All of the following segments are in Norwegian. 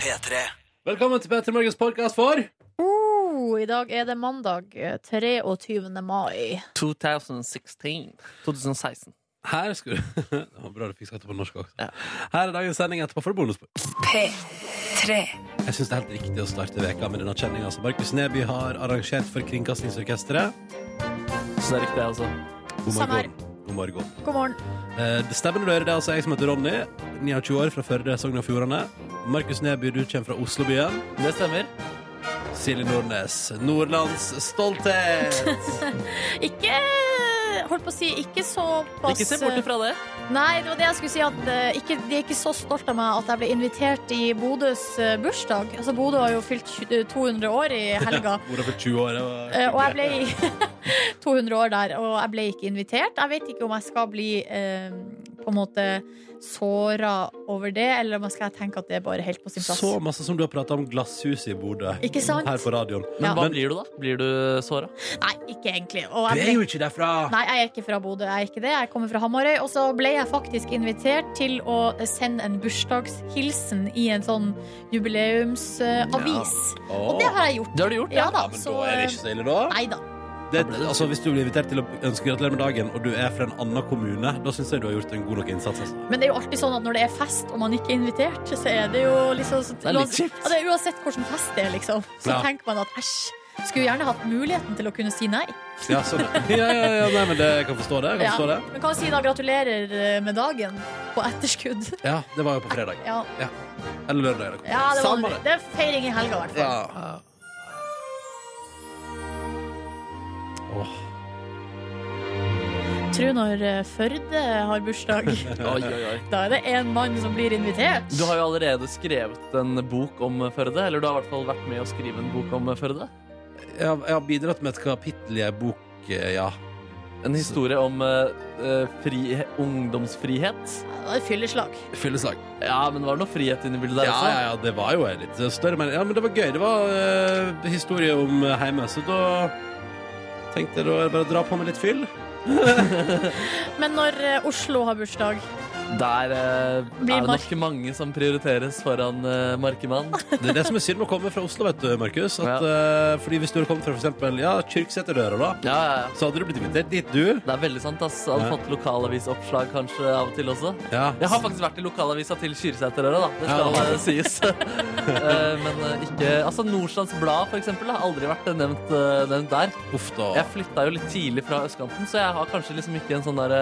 P3. Velkommen til Petter Morgens podkast for Oh, I dag er det mandag eh, 23. mai. 2016. 2016. Her skal du Det var bra du fikk sagt det på norsk også. Her er dagens sending etterpå for bonusbord. Jeg syns det er helt riktig å starte veka med denne kjenninga som Markus Neby har arrangert for Kringkastingsorkesteret. Så det er riktig, altså. God Samme her. morgen. God morgen. God morgen. Eh, Det stemmer når du hører det, er altså jeg som heter Ronny, 29 år, fra Førde, Sogn og Fjordane. Markus Neby, du kommer fra Oslobyen. Det stemmer. Silje Nordnes, Nordlands stolthet. Ikke Holdt på å si ikke såpass Ikke se bort ifra det. Nei, det var det jeg skulle si. At eh, ikke, de er ikke så stolt av meg at jeg ble invitert i Bodøs eh, bursdag. Altså, Bodø har jo fylt tju- 200 år i helga. Hvor for 20 år. det var- Eh, Og jeg ble 200 år der, og jeg ble ikke invitert. Jeg vet ikke om jeg skal bli eh, på en måte såra over det, eller om jeg skal tenke at det er bare helt på sin plass. Så masse som du har prata om glasshuset i Bodø Ikke sant? her på radioen. Men Ja. hva blir du, da? Blir du såra? Nei, ikke egentlig. Du Og jeg er ble... jo ikke derfra! Nei, jeg er ikke fra Bodø. Jeg er ikke det. Jeg kommer fra Hamarøy. Og så ble jeg faktisk invitert til å sende en bursdagshilsen i en sånn jubileumsavis. Og det har jeg gjort. Det har du gjort, Ja da. men Så da er det ikke så ille, da. Nei da. Det, altså, hvis du blir invitert til å ønske gratulerer med dagen, og du er fra en annen kommune, da syns jeg du har gjort en god nok innsats. Altså. Men det er jo alltid sånn at når det er fest og man ikke er invitert, så er det jo liksom så, Det er litt kjipt. Ja, det er uansett hvordan fest det er, liksom. Så Ja. tenker man at æsj. Skulle gjerne hatt muligheten til å kunne si nei. Ja, sånn. ja, ja, ja, nei, men det, jeg kan forstå det. Jeg kan Ja. forstå det. Men kan vi si da gratulerer med dagen på etterskudd? Ja, det var jo på fredag. Ja, Eller lørdag. eller hva. ja det, Samme var, det er feiring i helga, i hvert fall. Ja. Åh, Tror når eh, Førde har bursdag, Oi, oi, oi. da er det én mann som blir invitert. Du har jo allerede skrevet en bok om eh, Førde. Eller du har i hvert fall vært med å skrive en bok om eh, Førde. jeg, har, jeg har bidratt med et kapittel i ei bok, eh, ja. En historie om eh, eh, fri, ungdomsfrihet. Ja, det var et fylleslag. Fylleslag. Ja, men det var noe frihet inne i bildet der ja, også. ja, ja, det var jo en litt større men, ja, men det var gøy. Det var eh, historie om eh, heime, så da tenkte jeg da er det bare å dra på med litt fyll. Men når eh, Oslo har bursdag Der eh, Blir er det Mark- nok mange som prioriteres foran eh, Markemann. Det er det som er synd med å komme fra Oslo, vet du, Markus. At, eh, fordi hvis du hadde kommet fra for eksempel, ja, Kyrksæterdøra, da, Ja, ja, ja. så hadde du blitt invitert dit, du. Det er veldig sant. ass. Jeg hadde Ja. fått lokalavisoppslag kanskje av og til også. Ja. Jeg har faktisk vært i lokalavisa til Kyrsæterøra, da. Det skal Ja. eh, sies. Eh, Men eh, ikke Altså, Nordstrands Blad, for eksempel, har aldri vært nevnt, eh, nevnt der. Uff da. Jeg flytta jo litt tidlig fra østkanten, så jeg har kanskje liksom ikke en sånn derre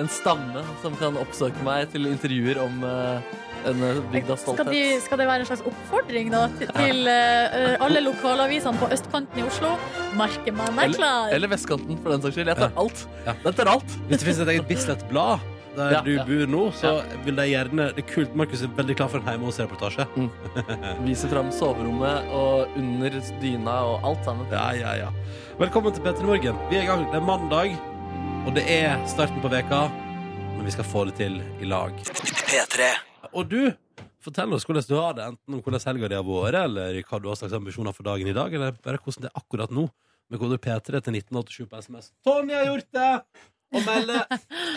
En stamme som kan oppsøke meg til intervjuer om eh, en eh, bygdas skal, de, stolthet. skal det være en slags oppfordring da, til- til eh, eh, alle lokalavisene på østkanten i Oslo? Merkemannen er klar! Eller vestkanten, for den saks skyld. Jeg tar alt. Ja. Jeg tar alt. Hvis det finnes et eget Bislett-blad der Ja, du ja. bor nå, så vil de gjerne Det er kult. Markus er veldig klar for en hjemme hos-reportasje. Viser fram soverommet og under dyna og alt sammen. Ja, ja, ja. Velkommen til Petter i Morgen. Vi er i gang. Det er mandag, og det er starten på veka, men vi skal få det til i lag. P3. Og du, fortell oss hvordan du har det, enten om hvordan helga di har vært, eller hva du har slags ambisjoner for dagen i dag, eller bare hvordan det er akkurat nå. Med koder P3 til 1987 på SMS. Tonje har gjort det! Og melder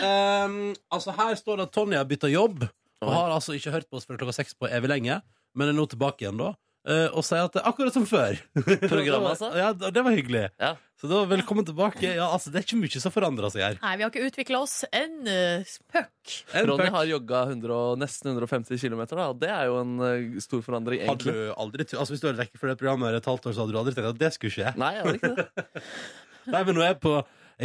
ehm, Altså, her står det at Tonje har bytta jobb, og har altså ikke hørt på oss før klokka seks på evig lenge, men er nå tilbake igjen, da. eh, og sier at det er akkurat som før. Programmet, altså? Ja, og det var hyggelig. Ja. Så da, velkommen tilbake. Ja, altså, det er ikke mye som forandrer seg her. Nei, vi har ikke utvikla oss en uh, puck. En Ronny pøk. har jogga 100 og- nesten 150 km, og det er jo en eh, stor forandring, Hadde egentlig. du aldri, tu- altså, hvis du hadde vekk fra det programmet her et halvt år, så hadde du aldri tenkt at det skulle skje. Nei, jeg hadde ikke det. Nei, men nå er jeg på,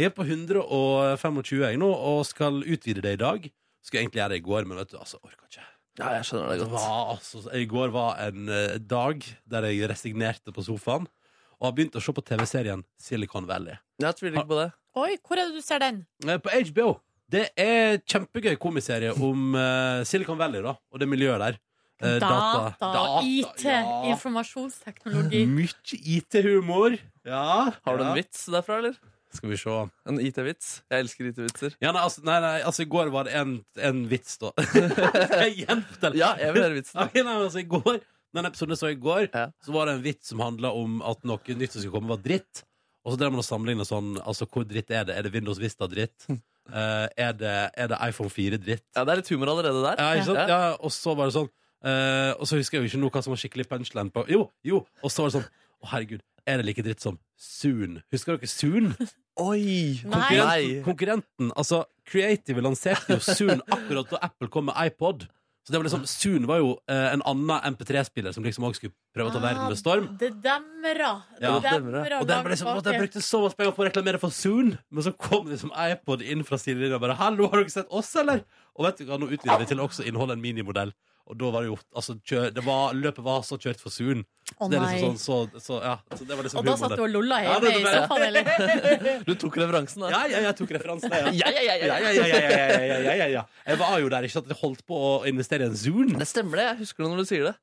jeg er på 125 jeg nå, og skal utvide det i dag. Skulle egentlig gjøre det i går, men vet du, altså, orka ikke. Ja, jeg skjønner det Det godt. var, altså, I går var en eh, dag der jeg resignerte på sofaen, og har begynt å se på TV-serien Silicon Valley. Jeg tviler ikke på det. Oi, hvor er det du ser den? Eh, På HBO. Det er kjempegøy komiserie om eh, Silicon Valley, da, og det miljøet der. Eh, Data, Data, IT, ja. Mm, informasjonsteknologi. Mye IT-humor. Ja. Har du ja. en vits derfra, eller? Skal vi se. En IT-vits? Jeg elsker IT-vitser. Ja, nei, altså, nei, nei, altså, i går var det en, en vits, da. Skal jeg gjenfortelle? Ja, jeg vil høre vitsen. Ok, nei, men altså, i går, den episoden jeg så i går, Ja. så var det en vits som handla om at noe nytt som skulle komme, var dritt. Og så drev man og sammenligna sånn Altså, hvor dritt er det? Er det Windows Vista-dritt? Hm. Eh, er, det, er det iPhone 4-dritt? Ja, Det er litt humor allerede der. Ja, ikke sant? Ja, og så var det sånn Eh, og så husker jeg jo ikke nå hva som var skikkelig punchline på Jo, jo! Og så var det sånn Å, herregud, er det like dritt som Soon? Husker dere Soon? Oi! Nei. Nei. Konkurrenten, altså Creative lanserte jo Soon akkurat da Apple kom med iPod. Så det var liksom, Soon var jo eh, en annen MP3-spiller som liksom også skulle prøve å Ah. ta verden med storm. Det demra. Det Ja. demra Og det var liksom, at Jeg brukte så masse penger på å reklamere for Zoon, men så kom liksom iPod inn fra sidelinja og bare 'Hallo, har dere sett oss, eller?' Og vet du hva, nå utvider vi til å også inneholde en minimodell. Og da var det jo altså, kjø, det var, Løpet var så kjørt for Zoon. Å, det er liksom nei. sånn, så, så, ja, så det var liksom Og da satt humoren du der. og lolla Ja, hjemme det- i sofaen, eller? Du tok referansen, da. Ja, ja, jeg tok referansen der, ja. Ja, ja, ja, ja, Ja, ja, ja, ja, ja, ja, ja, ja, ja, ja. Jeg var jo der, ikke sant? Jeg holdt på å investere i en Zoon. Det stemmer, det. Jeg husker det når du sier det.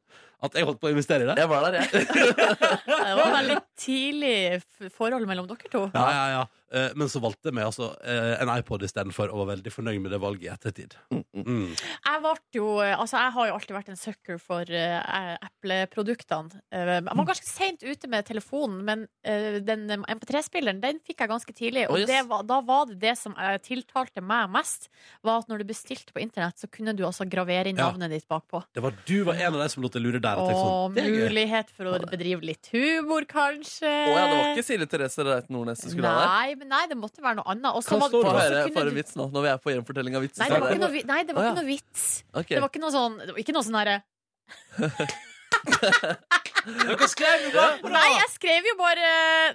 At jeg holdt på å investere i det. Jeg var der, jeg. Det var veldig tidlig f- forhold mellom dere to. Ja, ja, ja. Eh, Men så valgte vi altså eh, en iPod istedenfor, og var veldig fornøyd med det valget i ettertid. Mm. Jeg, ble jo, altså jeg har jo alltid vært en sucker for uh, Apple-produktene. Eh, jeg var ganske seint ute med telefonen, men eh, den eh, MP3-spilleren den fikk jeg ganske tidlig. Og Å, yes. det var, da var det det som eh, tiltalte meg mest, var at når du bestilte på internett, så kunne du altså gravere inn Ja. navnet ditt bakpå. Det var du var en av de som lot deg lure der. Og tenkte Og sånn, det er gøy. mulighet for å bedrive litt humor, kanskje. Å ja, det var ikke Silje Therese Reiten Nordnes du skulle ha der. Nei, men nei, det måtte være noe annet. Og så Kan var det- stå og og så høre kunne for du- en vits nå, når vi er på gjenfortelling av vitser. Nei, det var Nei, ikke noe, vi- nei, det var Å, ikke ja. noe vits. Ok. Det var ikke noe sånn, det var ikke noe sånn herre Dere skrev jo bare på det! Nei, jeg skrev jo bare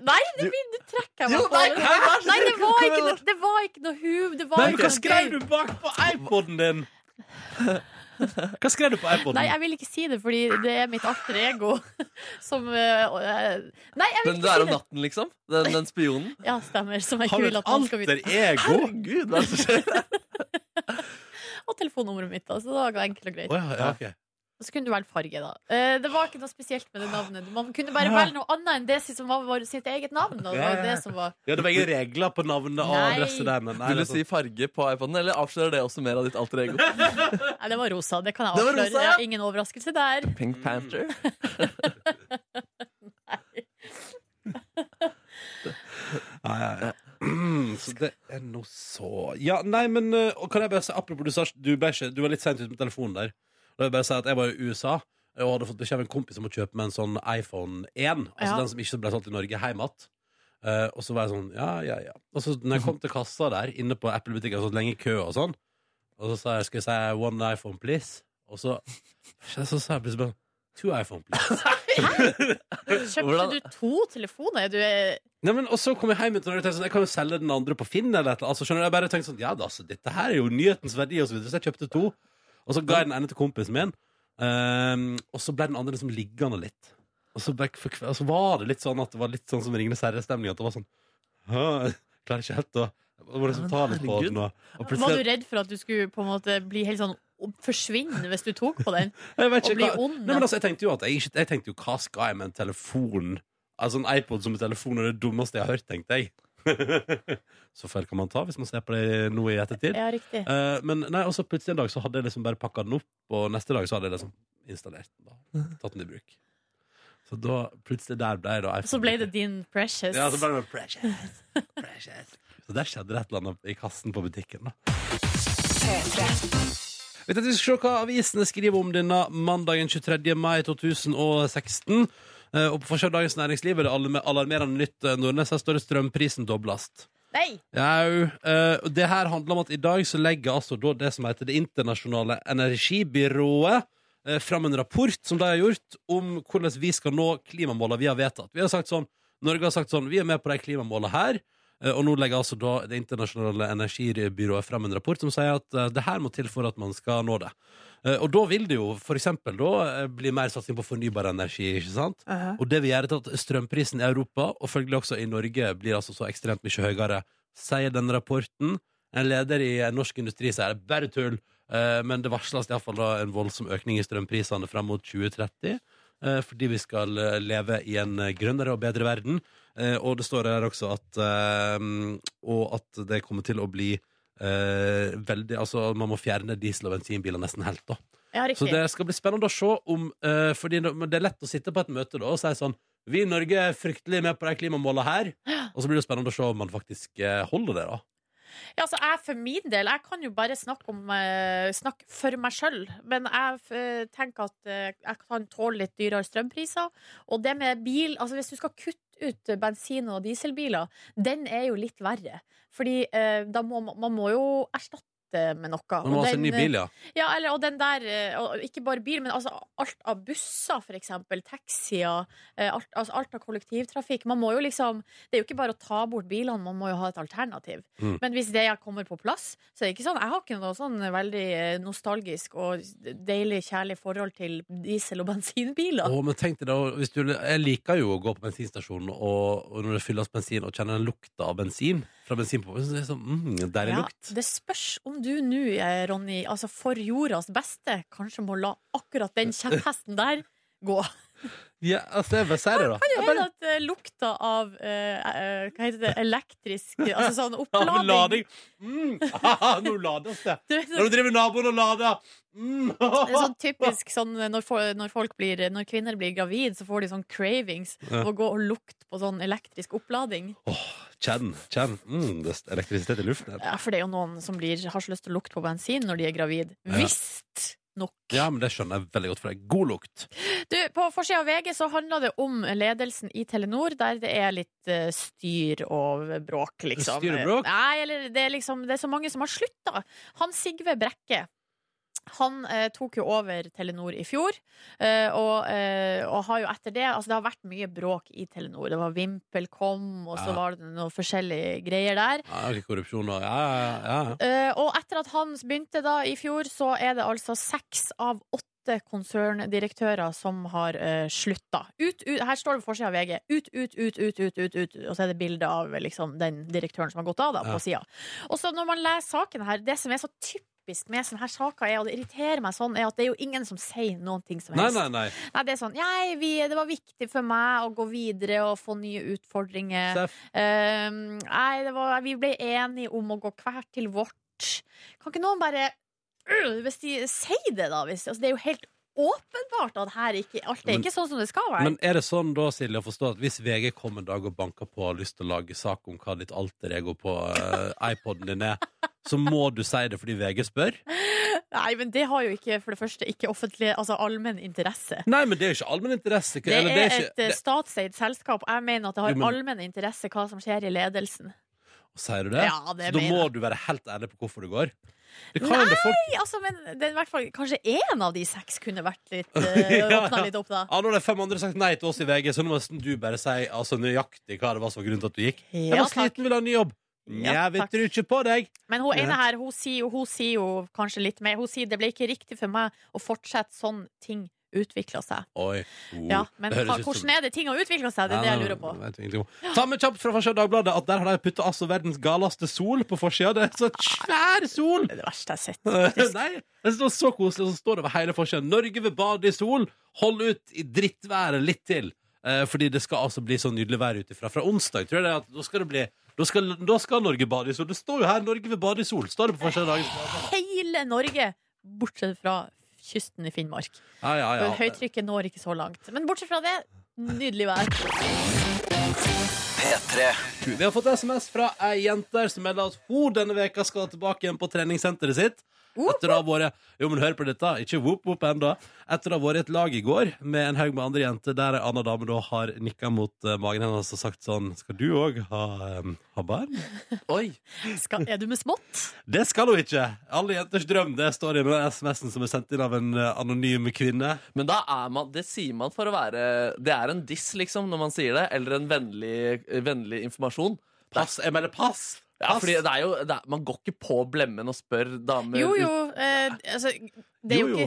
Nei, det, blir- det trekker jeg meg Jo, på. nei, det. hæ? Vær så Nei, det snill, var kom ikke igjen, noe, det var ikke noe hum. Det var Nei, men ikke hva noe skrev gøy. du bak på iPoden din? Hva skrev du på iPoden? Nei, jeg vil ikke si det, fordi det er mitt alter ego som eh, og, eh, Nei, jeg vil ikke Den du si det. er om natten, liksom? Den, den spionen? Ja, stemmer. Som jeg Har du ikke vil at et noen skal vite. alter ego? Herregud, hva er det som skjer? Og telefonnummeret mitt, da. Så det var enkelt og greit. Å ja, ja, ok. Og så kunne du velge farge, da. Eh, Det var ikke noe spesielt med det navnet. Man kunne bare Ja. velge noe annet enn det som var vår- sitt eget navn. Da. Det Ja, var ja, ja. det som var ja, det var ingen regler på navnet og Nei. adresse der, men nei, Vil du det er sånn. si farge på iPoden, eller avslører det også mer av ditt alter ego? Nei, det var rosa. Det kan jeg Det var avsløre. rosa, Det ja. er Ingen overraskelse der. Pink Panther. sånn- ja, ja, ja. Mm, Så det er noe så Ja, nei, men eh, og kan jeg bare si, Apropos, du, sa, du, ble ikke, du var litt sent ute med telefonen der. Da vil jeg bare si at Jeg var i USA og hadde fått beskjed av en kompis om å kjøpe meg en sånn iPhone 1. Altså Ja. den som ikke ble solgt i Norge, hjem igjen. Eh, og så var jeg sånn, ja, ja, ja. Og så når jeg kom til kassa der, inne på Apple-butikken, så lenge kø og sånn, og så sa jeg, skal jeg si one iPhone, please? Og så, så sa jeg plutselig bare, two iPhone, please. Kjøpte Hvordan- du to telefoner? Du er Nei, men, og så kom jeg hjem til Norge og tenkte sånn, jeg kan jo selge den andre på Finn eller et eller annet. Altså, skjønner du, jeg bare tenkte sånn, ja, da, altså, dette her er jo nyhetens verdi og så videre. Så jeg kjøpte to, og så ga jeg den ene til kompisen min, ehm, og så ble den andre liksom liggende litt. Og så, ble, jeg for, og så var det litt sånn at det var litt sånn som Ringenes Herre-stemning, at det var sånn, «Hæ, jeg klarer ikke helt å... Jeg må liksom men ta litt på herregud. den og, og Var du redd for at du skulle på en måte bli helt sånn forsvinne hvis du tok på den? Jeg vet Og bli ikke hva ond, Nei, men da. altså, jeg tenkte jo at jeg, ikke, jeg tenkte jo, hva skal jeg med en telefon? Altså en iPod som en telefon er det dummeste jeg har hørt, tenkte jeg. så feil kan man ta hvis man ser på det nå i ettertid. Ja, riktig. Eh, men nei, og så plutselig en dag så hadde jeg liksom bare pakka den opp, og neste dag så hadde jeg liksom installert den. da Tatt den i bruk. Så da plutselig der ble jeg da iPhone. Så ble det din precious. Ja, så ble det precious. precious. Så der skjedde det et eller annet i kassen på butikken, da. Vi tenkte vi skulle se hva avisene skriver om denne mandagen 23. mai 2016. Eh, Og på forsiden av Dagens Næringsliv er det alarm- alarmerende nytt. eh, Nordnes, her står det strømprisen doblast. Nei! Jau. eh, og Det her handler om at i dag så legger altså da det som heter Det internasjonale energibyrået eh, fram en rapport som de har gjort om hvordan vi skal nå klimamålene vi har vedtatt. Vi har sagt sånn, Norge har sagt sånn, vi er med på de klimamålene her, eh, og nå legger altså da Det internasjonale energibyrået fram en rapport som sier at eh, det her må til for at man skal nå det. Eh, Og da vil det jo for eksempel da eh, bli mer satsing på fornybar energi, ikke sant? Og det vil gjøre til at strømprisen i Europa, og følgelig også i Norge, blir altså så ekstremt mye høyere, sier den rapporten. En leder i Norsk Industri sier det er bare tull, eh, men det varsles iallfall en voldsom økning i strømprisene fram mot 2030. eh, Fordi vi skal eh, leve i en eh, grønnere og bedre verden. Eh, Og det står her også at eh, Og at det kommer til å bli eh, veldig Altså, man må fjerne diesel- og bensinbiler nesten helt, da. Ja, Så riktig. det skal bli spennende å se om eh, Fordi nå- men det er lett å sitte på et møte da og si sånn Vi i Norge er fryktelig med på de klimamålene her. Og så blir det spennende å se om man faktisk eh, holder det, da. Ja, altså jeg for min del, jeg kan jo bare snakke, om, eh, snakke for meg sjøl. Men jeg eh, tenker at eh, jeg kan tåle litt dyrere strømpriser. Og det med bil, altså hvis du skal kutte ut bensin- og dieselbiler, den er jo litt verre. Fordi eh, da må man, man må jo erstatte med noe. Man må Og ha seg en ny den, bil, ja. ja, eller, og den der, eh, og ikke bare bil, men altså alt av busser, for eksempel, taxier, eh, alt, altså alt av kollektivtrafikk. Man må jo liksom, det er jo ikke bare å ta bort bilene, man må jo ha et alternativ. Mm. Men hvis det kommer på plass, så er det ikke sånn, jeg har ikke noe sånn veldig eh, nostalgisk og deilig kjærlig forhold til diesel- og bensinbiler. Åh, men tenk deg da, hvis du, jeg liker jo å gå på bensinstasjonen og, og når det fylles bensin, og kjenne den lukta av bensin fra bensinpumpen. Så det er sånn, mm, deilig lukt. det spørs om du nå, eh, Ronny, altså for jordas beste, kanskje må la akkurat den kjepphesten der gå. Ja, altså, jeg bare sier det, da. Det er bare at eh, lukta av eh, eh, Hva heter det? Elektrisk Altså sånn Ja, opplading. lading. Mm. Nå lades det. Du vet sånn- Når du driver naboen og lader. Mm. det er sånn typisk sånn eh, når, fo- når, folk blir, når kvinner blir gravid, så får de sånn cravings Ja. av å gå og lukte på sånn elektrisk opplading. Kjenn, kjenn. Mm, det er elektrisitet i luften. Ja, for det er jo noen som blir, har så lyst til å lukte på bensin når de er gravid. Ja. Visst nok. Ja, men det skjønner jeg veldig godt, for det er god lukt. Du, på forsida av VG så handler det om ledelsen i Telenor, der det er litt eh, styr og bråk, liksom. Styr og bråk? Nei, eller det er liksom Det er så mange som har slutta. Han Sigve Brekke. Han eh, tok jo over Telenor i fjor, eh, og, eh, og har jo etter det Altså, det har vært mye bråk i Telenor. Det var VimpelCom, og så Ja. var det noen forskjellige greier der. Ja, ikke korrupsjon og ja, ja, ja. Eh, og etter at han begynte da i fjor, så er det altså seks av åtte konserndirektører som har uh, slutta. Ut, ut, her står det på forsida av VG. Ut, ut, ut, ut, ut, ut, ut. Og så er det bilde av liksom, den direktøren som har gått av, da, Ja. på sida. Og så når man leser saken her, det som er så typisk med sånne her saker, er, og det irriterer meg sånn, er at det er jo ingen som sier noen ting som Nei, helst. nei, nei. Nei, det er sånn Nei, vi, det var viktig for meg å gå videre og få nye utfordringer. Seff. Ehm, nei, det var, vi ble enige om å gå hvert til vårt. Kan ikke noen bare øh, hvis de, Si det, da! Hvis, altså, det er jo helt åpenbart at her ikke, alt er Men- ikke sånn som det skal være. Men er det sånn da, Silje, å forstå at hvis VG kom en dag og banka på og har lyst til å lage sak om hva ditt alter ego på eh, iPoden din er, så må du si det fordi VG spør? Nei, men det har jo ikke for det første ikke offentlig, altså allmenn interesse. Nei, men det er jo ikke allmenn interesse. Det er, eller det er ikke, et eh, det- statseid selskap. Jeg mener at det Jo, har men- allmenn interesse hva som skjer i ledelsen. Sier du det? Ja, så det da mener må jeg. du være helt ærlig på hvorfor du går. Det kan hende folk Nei, altså, men det er i hvert fall, kanskje én av de seks kunne vært litt eh, Ja, åpna ja. litt opp, da. Ja, Nå har de fem andre sagt nei til oss i VG, så nå må nesten du bare si altså, nøyaktig hva det var som var grunnen til at du gikk. Jeg Ja, var takk. sliten, ville ha ny jobb. Ja, Jeg vet takk. du ikke på deg. Men hun ene Ja. her, hun sier, jo, hun sier jo kanskje litt mer. Hun sier det ble ikke riktig for meg å fortsette sånn ting utvikler seg. Oi. Oh, Ja, men det høres hva, ut som- hvordan er det ting har utvikla seg? Det er det jeg lurer på. Nei, nei, nei, nei. Ta med kjapt fra forsida av Dagbladet at der har de putta altså verdens galeste sol på forsida. Det er så svær sol! Det er det verste jeg har sett. Nei, det står så koselig, og så står det over hele forsida 'Norge vil bade i sol'. Hold ut i drittværet litt til. Eh, fordi det skal altså bli så nydelig vær ut ifra. Fra onsdag tror jeg det er at da skal det bli da skal, da skal Norge bade i sol. Det står jo her 'Norge vil bade i sol'. Står det på forsida av dagens Dagbladet. Hele Norge, bortsett fra kysten i Finnmark. Ja, ja, ja. For Høytrykket når ikke så langt. Men bortsett fra det, nydelig vær. Vi har fått SMS fra ei jente der som melder at hun denne veka skal tilbake igjen på treningssenteret sitt. Etter å ha vært Jo, men hør på dette. Ikke whoop whoop ennå. Etter å ha vært i et lag i går med en haug med andre jenter, der ei anna dame da har nikka mot eh, magen hennes og sagt sånn Skal du òg ha, um, ha barn? Oi! Skal, er du med smått? Det skal hun ikke! Alle jenters drøm, det står i den SMS-en som er sendt inn av en eh, anonym kvinne. Men da er man, det sier man for å være Det er en diss, liksom, når man sier det. Eller en vennlig, vennlig informasjon. Pass! Jeg melder pass! Ja, pass. fordi det er jo, det er, Man går ikke på blemmen og spør damer Jo, jo. ut- Eh, altså, det er Jo, jo jo.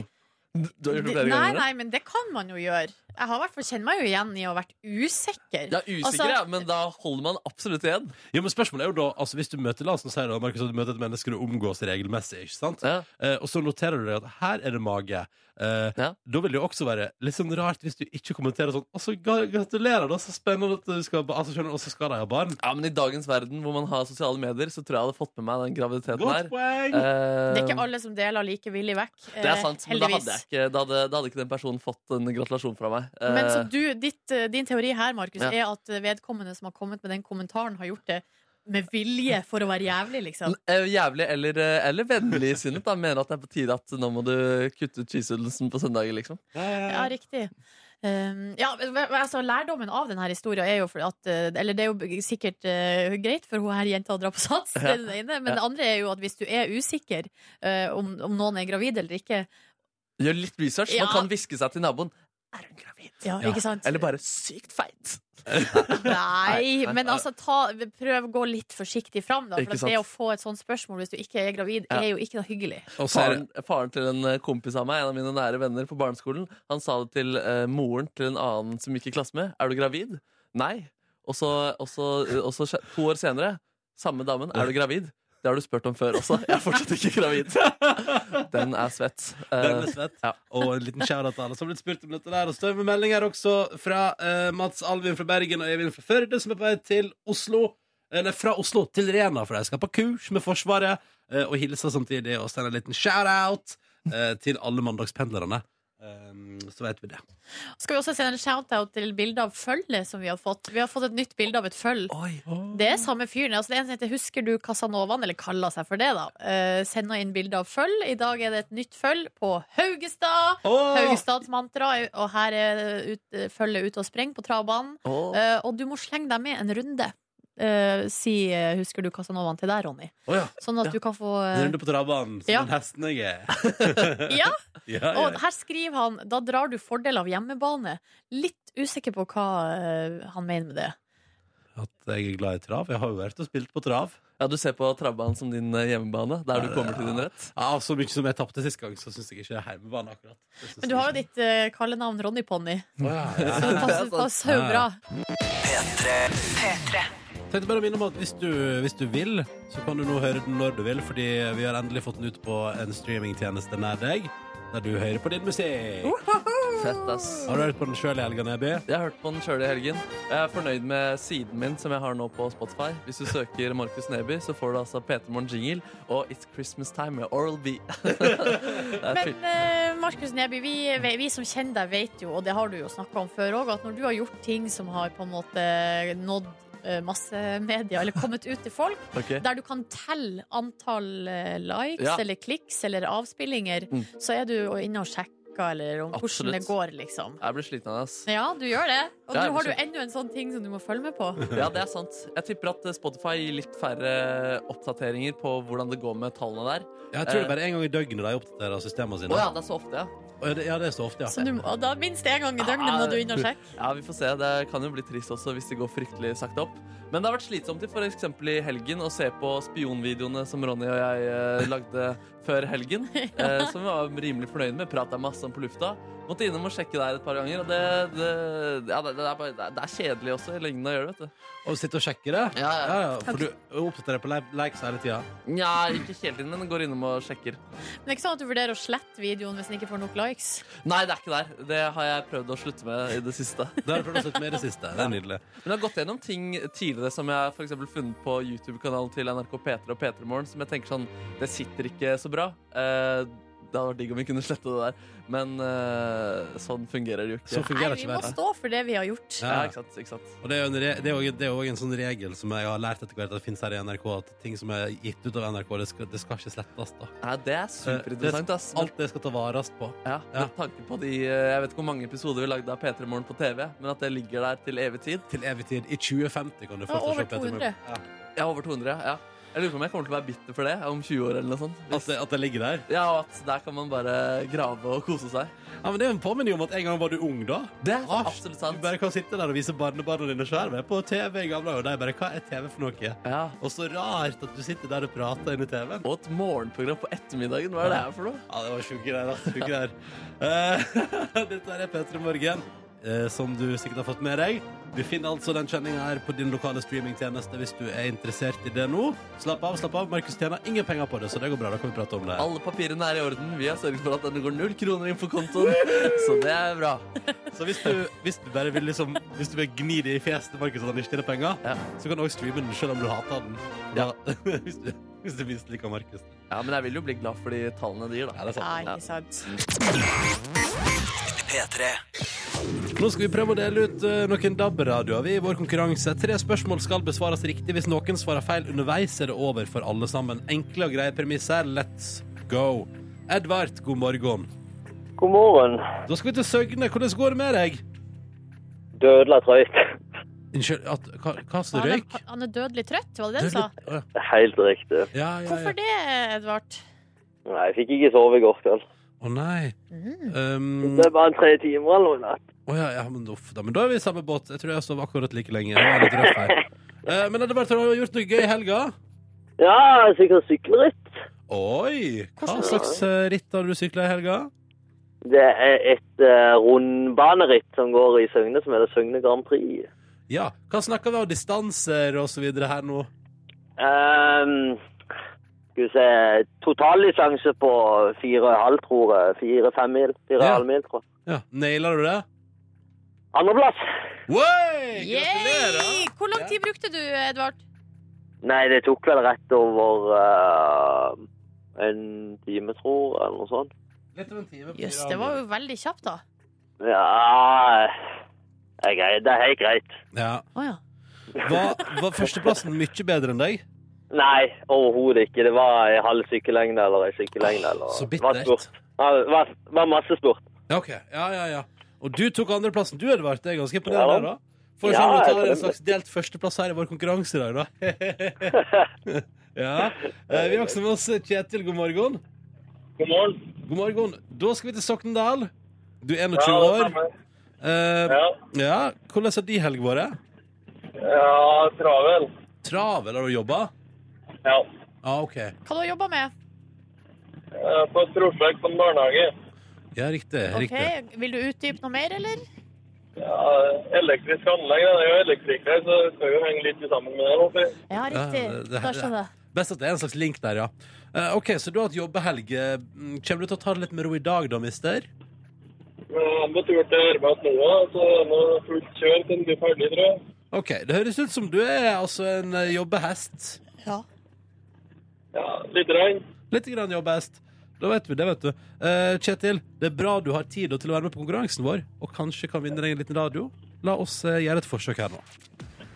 ikke Du har gjort Det- det flere Nei, ganger. nei, men det kan man jo gjøre. Jeg har i hvert fall kjenner meg jo igjen i å ha vært usikker. Ja, usikker, Altså- ja, men da holder man absolutt igjen. Jo, men spørsmålet er jo da, altså Hvis du møter la oss nå si da, Markus, at du møter et menneske du omgås regelmessig, ikke sant? Ja. Eh, og så noterer du deg at her er det mage. Eh, Ja. Da vil det jo også være litt sånn rart hvis du ikke kommenterer sånn Og så ga- gratulerer, da, så spennende at du skal ba- altså, skjønner, du, Og så skal de ha barn. Ja, men I dagens verden hvor man har sosiale medier, så tror jeg jeg hadde fått med meg den graviditeten Godt her. poeng! Eh, Det er ikke alle som deler like villig vekk. eh, det er sant, men da heldigvis. hadde, jeg ikke, da, hadde, da hadde ikke den personen fått en gratulasjon fra meg. Eh, Men så du, ditt, eh, din teori her, Markus, Ja. er at vedkommende som har kommet med den kommentaren, har gjort det med vilje for å være jævlig, liksom. Eh, Jævlig eller, eh, eller vennligsinnet da, mener at det er på tide at nå må du kutte ut cheeseudelsen på søndager, liksom. Ja, riktig. Um, ja, men, men, altså, lærdommen av denne historien er jo fordi at eh, Eller det er jo sikkert eh, greit for hun her jenta å dra på sats, det er den ene. Men det andre er jo at hvis du er usikker eh, om, om noen er gravid eller ikke Gjør litt research. Ja. Man kan hviske seg til naboen. Er hun gravid? ja, Ja, ikke sant? Eller bare sykt feit? Nei, nei, men nei. altså ta, prøv å gå litt forsiktig fram, da. Ikke For at sant. det å få et sånt spørsmål hvis du ikke er gravid, Ja. er jo ikke noe hyggelig. Og så er det Faren, faren til en eh, kompis av meg, en av mine nære venner på barneskolen, han sa det til eh, moren til en annen som gikk i klasse med. Er du gravid? Nei. Og så, og så, og så skje- to år senere, samme damen. Er du gravid? Det har du spurt om før også. Jeg er fortsatt ikke gravid. Den er svett. Eh, Den er svett. ja. Og en liten shout-out til alle som har blitt spurt om dette der. Og større melding her også fra eh, Mats Alvin fra Bergen og Eivind fra Førde, som er på vei til Oslo. Eller fra Oslo til Rena, for de skal på kurs med Forsvaret. eh, og hilser samtidig og sender en liten shout-out eh, til alle mandagspendlerne. Eh, så vet vi det. Skal vi også sende en shout-out til bildet av føllet som vi har fått. Vi har fått et nytt bilde av et føll. Oi. Det er samme fyren. Altså, det er en som heter Husker du Casanovaen, eller kaller seg for det, da. Uh, sender inn bilde av føll. I dag er det et nytt føll på Haugestad. Haugestads mantra, og her er ut, følget ute og sprenger på travbanen. Åh. Eh, og du må slenge deg med en runde. Eh, si eh, 'Husker du Casanovaen' til deg, Ronny. Å ja. Sånn at Ja. du kan få En eh, runde på travbanen, som Ja. den hesten jeg er. Ja, Ja, ja. og eh, her skriver han 'Da drar du fordel av hjemmebane'. Litt usikker på hva eh, han mener med det. At jeg er glad i trav. Jeg har jo vært og spilt på trav. Ja, du ser på Trabbanen som din eh, hjemmebane, der du kommer til din rett. Ja, Så mye som jeg tapte sist gang, så syns jeg ikke det er heimebane akkurat. Det synes Men du jeg har jo ikke. ditt eh, kallenavn Ronny Ponni. Å, ja, ja. Så det passer, passer jo bra. Tenkte bare å minne om at hvis du, hvis du vil, så kan du nå høre den når du vil, fordi vi har endelig fått den ut på en streamingtjeneste nær deg, der du hører på din musikk. Fett, ass. Har du hørt på den sjøl i helga, Neby? Jeg har hørt på den sjøl i helgen. Jeg er fornøyd med siden min som jeg har nå på Spotify. Hvis du søker Markus Neby, så får du altså P3 Morgen Jingle og It's Christmas Time med Oral B. Det er Men fint. eh, Markus Neby, vi, vi som kjenner deg, vet jo, og det har du jo snakka om før òg, at når du har gjort ting som har på en måte nådd eh, masse media, eller kommet ut til folk, Ok. der du kan telle antall eh, likes Ja. eller kliks eller avspillinger, Mm. så er du jo inne og sjekker eller om Absolutt. hvordan det går, liksom. Jeg blir sliten av det, ass. Ja, du gjør det. Og Ja, jeg nå har du blir enda en sånn ting som du må følge med på. Ja, det er sant. Jeg tipper at eh, Spotify gir litt færre oppdateringer på hvordan det går med tallene der. Jeg tror det er bare en gang i døgnet de oppdaterer systemene Å sine. ja, det er så ofte, ja. Og ja, det- Ja, det er så ofte, ja. Så du, må- og da minst én gang i døgnet må du inn og sjekke. Ja, vi får se. Det kan jo bli trist også hvis det går fryktelig sakte opp. Men det har vært slitsomt i f.eks. i helgen å se på spionvideoene som Ronny og jeg eh, lagde før helgen. Eh, som vi var rimelig fornøyd med. Prata masse om på lufta. Måtte innom og sjekke der et par ganger. Og det, det, ja, det, det, er, bare, det er- det er kjedelig også i lengden å gjøre det, vet du. Og sitte og sjekke det. Ja, Ja, ja, for du oppdaterer på li- likes hele tida. Nja, ikke hele tiden, men går innom og sjekker. Men det er ikke sånn at du vurderer å slette videoen hvis den ikke får nok likes. Nei, det er ikke der. Det har jeg prøvd å slutte med i det siste. Det har jeg prøvd å slutte med i det siste. Det er nydelig. Men jeg har gått gjennom ting tidligere som jeg for eksempel funnet på YouTube-kanalen til NRK P3 og P3 Morgen, som jeg tenker sånn Det sitter ikke så bra. Eh, det hadde vært digg om vi kunne slette det der, men eh, sånn fungerer det jo ikke. Så Nei, fungerer det vi ikke må mer. stå for det vi har gjort. ja, Ja. ikke sant, ikke sant. Og det er jo en re- det er jo- det er jo også en sånn regel som jeg har lært etter hvert at finnes her i NRK, at ting som er gitt ut av NRK, det skal, det skal ikke slettes. da Nei, det er superinteressant, ass. Men, Alt Eh, det skal ta vares på. ja, Ja. med tanke på de eh, Jeg vet ikke hvor mange episoder vi lagde av P3 Morgen på TV, men at det ligger der til evig tid. Til evig tid. I 2050 kan du Ja, fortsatt over se Peter 200. Morgan. Ja. Ja, over 200, ja. Jeg lurer på om jeg kommer til å være bitter for det om 20 år eller noe sånt. At, det, at det ligger der. Ja, og at der kan man bare grave og kose seg. Ja, men Det er jo en påminning om at en gang var du ung, da. Det er Ah, absolutt Du sant. bare kan sitte der og vise barnebarna dine skjermen på TV i gamle dager, og de bare Hva er TV for noe? Ja, Og så rart at du sitter der og prater inni TV-en. Og et morgenprogram på ettermiddagen. Hva er det her for noe? Ja, det var sjuke greier. ass. Sjuke greier. Eh, Dette er P3 Morgen, eh, som du sikkert har fått med deg. Du finner altså den kjenninga her på din lokale streamingtjeneste hvis du er interessert i det nå. Slapp av, slapp av. Markus tjener ingen penger på det, så det går bra. Da kan vi prate om det. Alle papirene er i orden. Vi har sørget for at det går null kroner inn på kontoen. Så det er bra. Så hvis du, hvis du bare vil liksom Hvis du vil gni det i fjeset til Markus at han ikke tjener penger, Ja. så kan du også streame den selv om du hater den. Da, hvis du, hvis du misliker Markus. Ja, Men jeg vil jo bli glad for de tallene de gir, Ja, da. det er sant. Nei, ikke sant. Nå skal vi prøve å dele ut eh, noen DAB-radioer vi i vår konkurranse. Tre spørsmål skal besvares riktig. Hvis noen svarer feil underveis, er det over for alle sammen. Enkle og greie premisser. Let's go. Edvard, god morgen. God morgen. Da skal vi til Søgne. Hvordan går det med deg? Dødla trøyt. Unnskyld, at, hva, hva sa du? Han er, Røyk? han er dødelig trøtt, var det det du sa? Å, ja. Det er Helt riktig. Ja, ja, ja. Hvorfor det, Edvard? Nei, jeg fikk ikke sove i går kveld. Å nei. Mm. Um, Det er bare tre timer eller noe. i natt. Å ja, ja, men uff da. Men da er vi i samme båt. Jeg tror jeg sov akkurat like lenge. Jeg er litt røff her. Eh, men Edvard, har du gjort noe gøy i helga? Ja, sikkert sykkelritt. Oi! Hva Hvordan da? slags eh, ritt har du sykla i helga? Det er et eh, rundbaneritt som går i Søgne, som heter Søgne Grand Prix. Ja. Hva snakker vi om distanser og så videre her nå? Ehm, skal vi se Totallisanse på fire og en halv, tror jeg. Fire-fem mil. Fire og Ja. en halv mil, tror jeg. Ja, Nailer du det? Andreplass! Oi! Gratulerer! Yay! Hvor lang tid brukte du, Edvard? Nei, det tok vel rett over eh, en time, tror jeg, eller noe sånt. Litt over en time. på Jøss, fire det var dager. jo veldig kjapt, da. Ja Det er greit. Det er helt greit. ja. Å ja. var, var førsteplassen mye bedre enn deg? Nei, overhodet ikke. Det var en halv sykkellengde eller en sykkellengde. Eller... Så det var spurt. bittert. Ja, det var, det var masse spurt. Ja, ok. Ja, ja, ja. Og du tok andreplassen. Du, Edvard, det er ganske Ja, imponerende. da. da. For Ja, sånn, jeg du tar tror en det. slags delt førsteplass her i vår konkurranse i dag, da. ja. Eh, Vi har også med oss Kjetil. God morgen. God morgen. God morgen. Da skal vi til Sokndal. Du er 21 år. Eh, ja. Hvordan har de helg vært? Ja, travel. Travel? Har du jobba? Ja. Ja, OK. Hva du har jobba med? Eh, På et prosjekt som barnehage. Ja, riktig. Ok, riktig. Vil du utdype noe mer, eller? Ja, elektrisk anlegg. Det er jo elektriker, så det skal jo henge litt sammen med det. Ja, riktig. Ja, det- det- Da skjønner jeg. Best at det er en slags link der, ja. Eh, OK, så du har hatt jobbehelg. Eh, mm, Kommer du til å ta det litt med ro i dag, da, mister? Jeg må tur til Ørbat nå, så nå fullt kjør til den blir ferdig, tror jeg. OK. Det høres ut som du er altså en eh, jobbehest. Ja. Ja, litt regn. Litt grann jobbehest. Da vet vi det, vet du. Eh, Kjetil, det er bra du har tid til å være med på konkurransen vår, og kanskje kan vinne deg en liten radio. La oss eh, gjøre et forsøk her nå.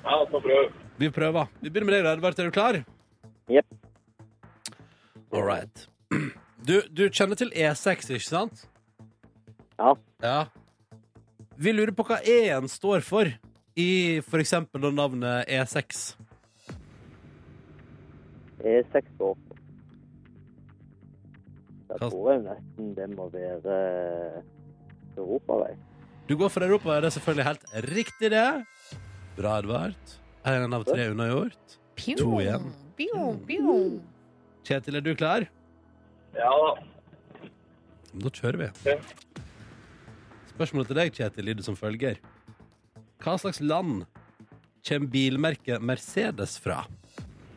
Ja, så prøv. Vi prøver. Vi begynner med deg, da, Edvard. Er du klar? Jep. All right. Du, du kjenner til E6, ikke sant? Ja. Ja. Vi lurer på hva E-en står for i for eksempel da navnet E E6. Jeg er seks år. Da Hva- tror jeg nesten det må være eh, europavei. Du går for Europa, er det selvfølgelig helt riktig, det. Bra, Edvard. En av tre unnagjort. Pjong, To igjen. pjong, pjong. Kjetil, er du klar? Ja da. Da kjører vi. Spørsmålet til deg, Kjetil, lyder som følger. Hva slags land kommer bilmerket Mercedes fra?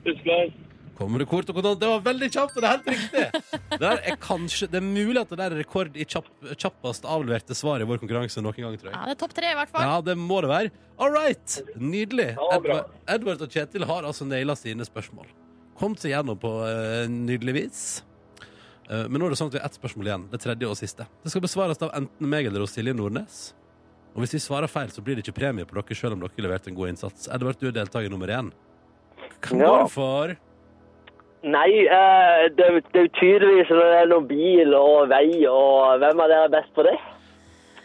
Tyskland. Kommer det kort og kontant? Det var veldig kjapt, og det er helt riktig! Det, der er kanskje, det er mulig at det der er rekord i kjapp, kjappest avleverte svar i vår konkurranse noen gang, tror jeg. Ja, det er topp tre, i hvert fall. Ja, det må det være. All right! Nydelig. Ja, bra. Edvard, Edvard og Kjetil har altså naila sine spørsmål. Kom seg gjennom på eh, nydelig vis. Eh, men nå er det sånn at vi har ett spørsmål igjen. Det tredje og siste. Det skal besvares av enten meg eller oss, Silje Nordnes. Og hvis vi svarer feil, så blir det ikke premie på dere selv om dere leverte en god innsats. Edvard, du er deltaker nummer én. Hva Ja. går du for? Nei, eh, det, er- det er jo tydeligvis når det er noe bil og vei og eh, Hvem av dere er best på det?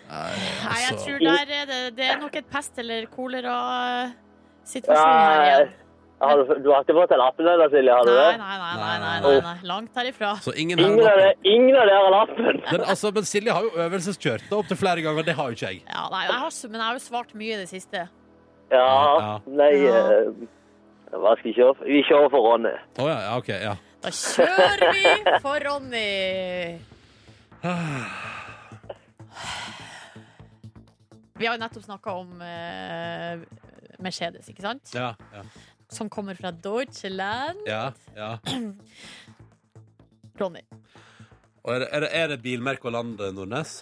Nei, jeg altså- tror der er det, det er nok et pest- eller kolera-situasjon her Eh, igjen. har du, du har ikke fått en lappen ennå, Silje? Har du Nei, nei, det? nei. nei, nei, nei. nei. Langt herifra. Så ingen her Ingen av dere, ingen av dere har lappen! men, altså, men Silje har jo øvelseskjørt det opptil flere ganger. Det har jo ikke jeg. Ja, nei, jeg har, men jeg har jo svart mye i det siste. Ja, Ja. nei eh, Hva skal vi kjøre for? Vi kjører for Ronny. Å ja, ja, OK. Ja. Da kjører vi for Ronny! Vi har jo nettopp snakka om eh, Mercedes, ikke sant? Ja, ja, Som kommer fra Deutschland. ja, ja. Ronny. Og er, det- er, det- er det bilmerke og land, Nordnes?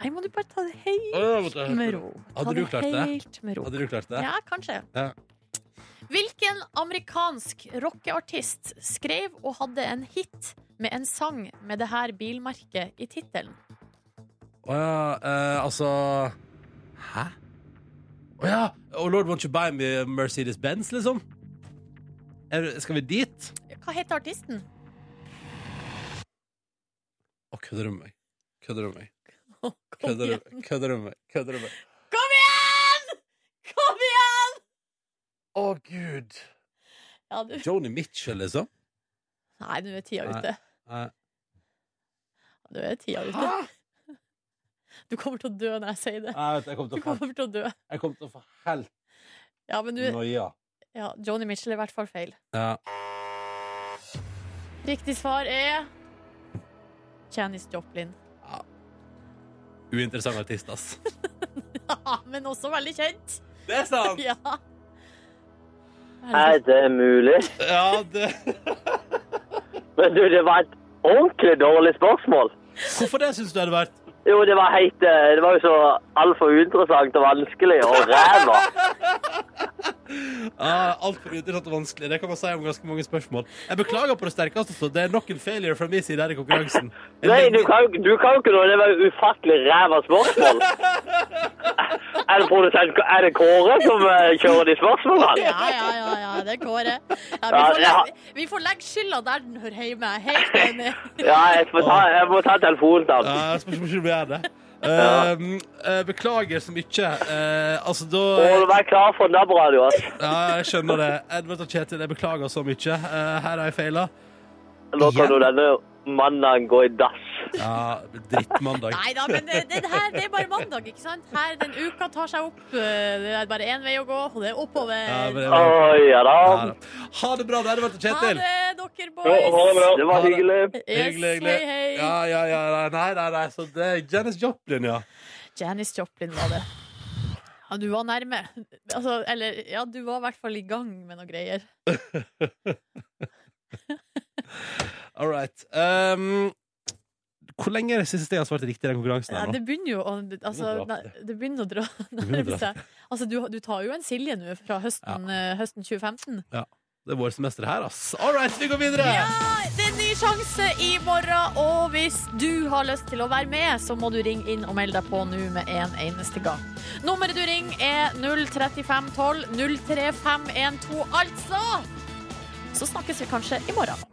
Nei, må du bare ta det helt med ro. Ta Hadde du klart det? Helt med ro. Hadde du klart det? Ja, kanskje. Ja. Hvilken amerikansk rockeartist skrev og hadde en hit med en sang med det her bilmerket i tittelen? Å ja, eh, altså Hæ? Å ja! Oh, Lord Won't You Buy Me a Mercedes Benz, liksom? Er, skal vi dit? Hva heter artisten? Å, kødder du med meg? Kødder du med meg? Kom Kødder du igjen! kødder du med meg? Kødder du med meg? Kom igjen! Kom igjen! Å, gud! Ja, du. Joni Mitchell, liksom? Nei, nå er tida Nei. ute. Nei. Nå er tida ute. Du kommer til å dø når jeg sier det. Nei, vet du, jeg kommer Du til å få, kommer til å dø. jeg kommer til å få helt Ja, men du noia. ja, Joni Mitchell er i hvert fall feil. Ja. Riktig svar er Janis Joplin. Uinteressant artist, ass. Ja, men også veldig kjent. Det er sant! Ja. Er det mulig? Ja, det... Men du, det var et ordentlig dårlig spørsmål. Hvorfor det, syns du hadde vært? Jo, det var helt eh, Det var jo så altfor uinteressant og vanskelig og ræva. Ah, Altfor uinteressant og vanskelig. Det kan man si om ganske mange spørsmål. Jeg beklager på det sterkeste. altså. Det er nok en failure fra min side her i konkurransen. Jeg Nei, mener- du kan, jo- du kan jo ikke noe. Det var jo ufattelig ræva spørsmål. Er det produsent Er det Kåre som eh, kjører de spørsmålene? Ja, ja, ja, ja, det går, det. Ja, vi, Ja, får ja. legge, vi får legge skylda der den hører hjemme. Jeg er Helt enig. Ja, jeg, får ta, jeg må ta telefonen til han. Ja, spørs om ikke du gjør det. Ja. Um, eh, beklager så mye. Eh, altså, da Og vær klar for DAB-radio. ass. Ja, jeg skjønner det. Edvard og Kjetil, jeg beklager så mye. Eh, her har jeg feila. Nå kan jo denne mannen gå i dass. Ja, drittmandag. Nei da, men det, det, her, det er bare mandag, ikke sant? Her den uka tar seg opp. Det er bare én vei å gå, og det er Ja, men oppover. det Å var- ja da. Ja, da. Ha det bra, da, Edvard og Ha Kjetil. det, dere det boys. bra. Det var hyggelig. Yes, Hyggelig, hyggelig. hei, hei. Ja, ja, ja. Nei, nei, nei. Så det er Janis Joplin, ja. Janis Joplin var det. Ja, du var nærme. Altså, eller ja, du var i hvert fall i gang med noe greier. All right. Um, hvor lenge er det siste jeg har svart riktig i den konkurransen? Ja, her nå? det begynner jo å altså, begynner å dra nei, opp, Det begynner å dra begynner å dra nærme seg. Altså, du, du tar jo en Silje nå fra høsten, eh, høsten 2015. Det er vårsemester her, ass. All right, vi går videre! Nei, Det er en ny sjanse i morgen, og hvis du har lyst til å være med, så må du ringe inn og melde deg på nå med en eneste gang. Nummeret du ringer, er 03512 03512, altså! Så snakkes vi kanskje i morgen.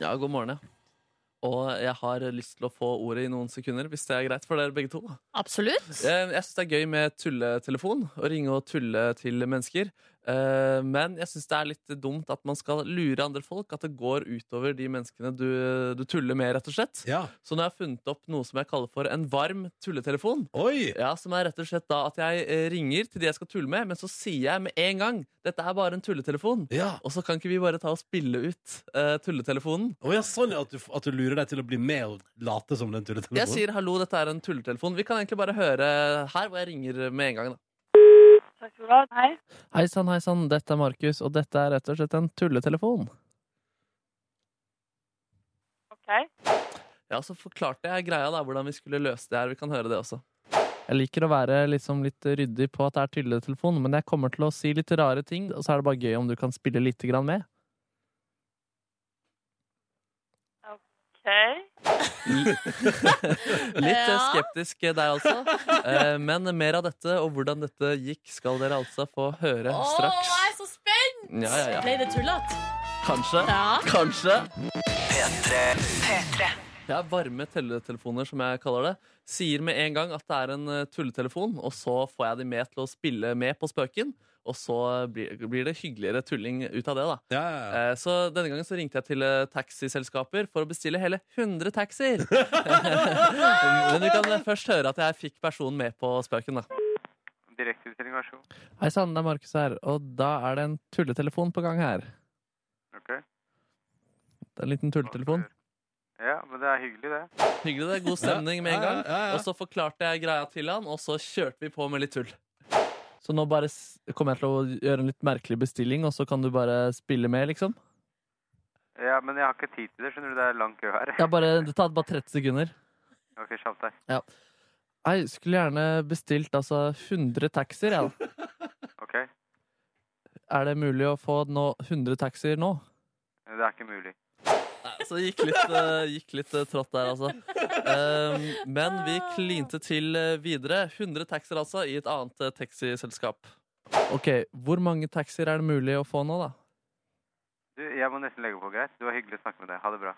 Ja, god morgen, ja. Og jeg har lyst til å få ordet i noen sekunder, hvis det er greit for dere begge to. Absolutt. Eh, Jeg, jeg syns det er gøy med tulletelefon, å ringe og tulle til mennesker. Eh, Men jeg syns det er litt dumt at man skal lure andre folk, at det går utover de menneskene du, du tuller med, rett og slett. Ja. Så nå har jeg funnet opp noe som jeg kaller for en varm tulletelefon. Oi! Ja, som er rett og slett da at jeg eh, ringer til de jeg skal tulle med, men så sier jeg med en gang dette er bare en tulletelefon. Ja. Og så kan ikke vi bare ta og spille ut eh, tulletelefonen. Å, ja, sånn ja, at du, at du lurer deg til å bli med og late som den tulletelefonen. Jeg sier hallo, dette er en tulletelefon. Vi kan egentlig bare høre her hvor jeg ringer med en gang. da. Takk skal du ha. Hei. Hei sann, hei sann, dette er Markus, og dette er rett og slett en tulletelefon. Ok. Ja, så forklarte jeg greia da, hvordan vi skulle løse det her. Vi kan høre det også. Jeg liker å være liksom litt ryddig på at det er tulletelefon, men jeg kommer til å si litt rare ting, og så er det bare gøy om du kan spille lite grann med. Ok. Litt eh, Ja. skeptisk eh, deg altså. Eh, Men mer av dette og hvordan dette gikk, skal dere altså få høre Åh, straks. jeg er så spent! Ja, ja, ja. Ble det tullete? Kanskje. Ja. Kanskje. Det er varme telletelefoner, som jeg kaller det. Sier med en gang at det er en eh, tulletelefon, og så får jeg de med til å spille med på spøken. Og så blir blir det hyggeligere tulling ut av det, da. Ja, ja, ja. Eh, Så denne gangen så ringte jeg til eh, taxiselskaper for å bestille hele 100 taxier. Men vi kan eh, først høre at jeg fikk personen med på spøken, da. Direkteutstilling, vær så god. Hei sann, det er Markus her, og da er det en tulletelefon på gang her. Ok. Det er en liten tulletelefon. Ja, men det er hyggelig, det. Hyggelig, det. God stemning med en Ja, gang. ja, ja, ja. Og så forklarte jeg greia til han, og så kjørte vi på med litt tull. Så nå bare s- kommer jeg til å gjøre en litt merkelig bestilling, og så kan du bare spille med, liksom? Ja, men jeg har ikke tid til det, skjønner du. Det er lang kø her. Ja, bare, det tar bare 30 sekunder. Ok, kjapt deg. Nei, skulle gjerne bestilt altså 100 taxier, jeg, da. Ok. Er det mulig å få nå 100 taxier nå? Det er ikke mulig. Nei, Så det gikk litt, eh, gikk litt eh, trått der, altså. Ehm, men vi klinte til eh, videre. 100 taxier, altså, i et annet eh, taxiselskap. Ok, Hvor mange taxier er det mulig å få nå, da? Du, jeg må nesten legge på, greit? Det var hyggelig å snakke med deg. Ha det bra.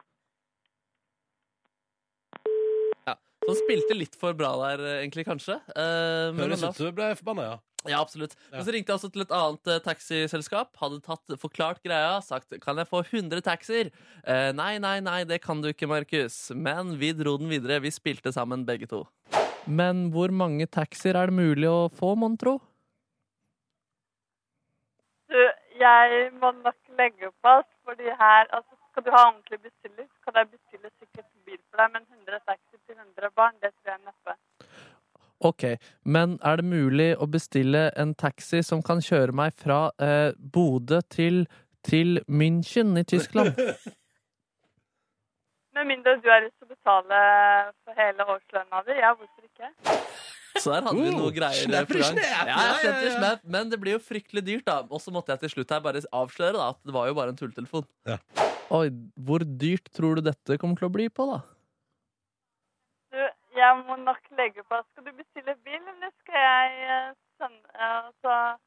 Som spilte litt for bra der, eh, egentlig, kanskje. Ehm, men Høres la ut som du ble forbanna, ja. Ja, absolutt. Ja. Men så ringte jeg også til et annet eh, taxiselskap. Hadde tatt, forklart greia, sagt 'kan jeg få 100 taxier'? Eh, nei, nei, nei, det kan du ikke, Markus. Men vi dro den videre. Vi spilte sammen, begge to. Men hvor mange taxier er det mulig å få, mon tro? Du, jeg må nok legge opp alt, fordi her altså, Skal du ha ordentlig bestiller, så kan jeg bestille sikkert bil for deg, men 100 taxi til 100 barn, det tror jeg neppe. Ok, men er det mulig å bestille en taxi som kan kjøre meg fra eh, Bodø til, til München i Tyskland? Med mindre du har lyst til å betale for hele årslønna di, ja, hvorfor ikke? Så der hadde vi Uh, noe greier. snapper, på gang. snap, Oh, Ja, ja, ja, ja, snapper, ja. snap, men det blir jo fryktelig dyrt, da. Og så måtte jeg til slutt her bare avsløre da, at det var jo bare en tulletelefon. Ja. Oi, hvor dyrt tror du dette kommer til å bli på, da? Du, jeg må nok legge opp alt. Skal du bestille bil, eller skal jeg eh, sende eh, Altså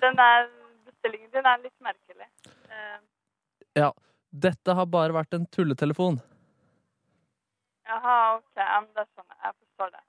Den der bestillingen din er litt merkelig. Eh, Dette har bare vært en tulletelefon. Jaha, OK. Ja, men det skjønner jeg. Jeg forstår det.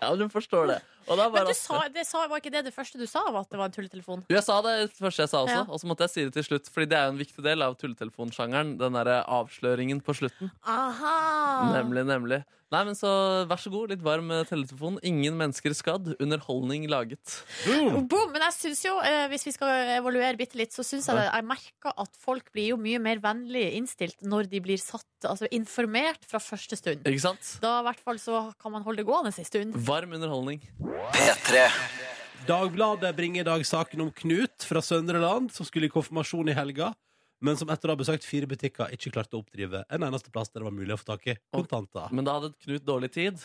Ja, du forstår det. Og da Men bare du sa, det sa, var ikke det det første du sa, var at det var en tulletelefon? Jo, Jeg sa det første jeg sa også, Ja. og så måtte jeg si det til slutt. Fordi det er jo en viktig del av tulletelefonsjangeren, den derre avsløringen på slutten. Aha! Ah. Nemlig, nemlig. Nei, men så vær så god, litt varm eh, teletelefon. Ingen mennesker skadd. Underholdning laget. Boom! Boom! Men jeg synes jo, eh, hvis vi skal evaluere bitte litt, så syns jeg det- jeg merker at folk blir jo mye mer vennlig innstilt når de blir satt, altså informert fra første stund. Ikke sant? Da i hvert fall så kan man holde det gående en stund. Varm underholdning. Dagbladet bringer i dag saken om Knut fra Søndre Land, som skulle i konfirmasjon i helga, men som etter å ha besøkt fire butikker ikke klarte å oppdrive en eneste plass der det var mulig å få tak i kontanter. Men da hadde Knut dårlig tid.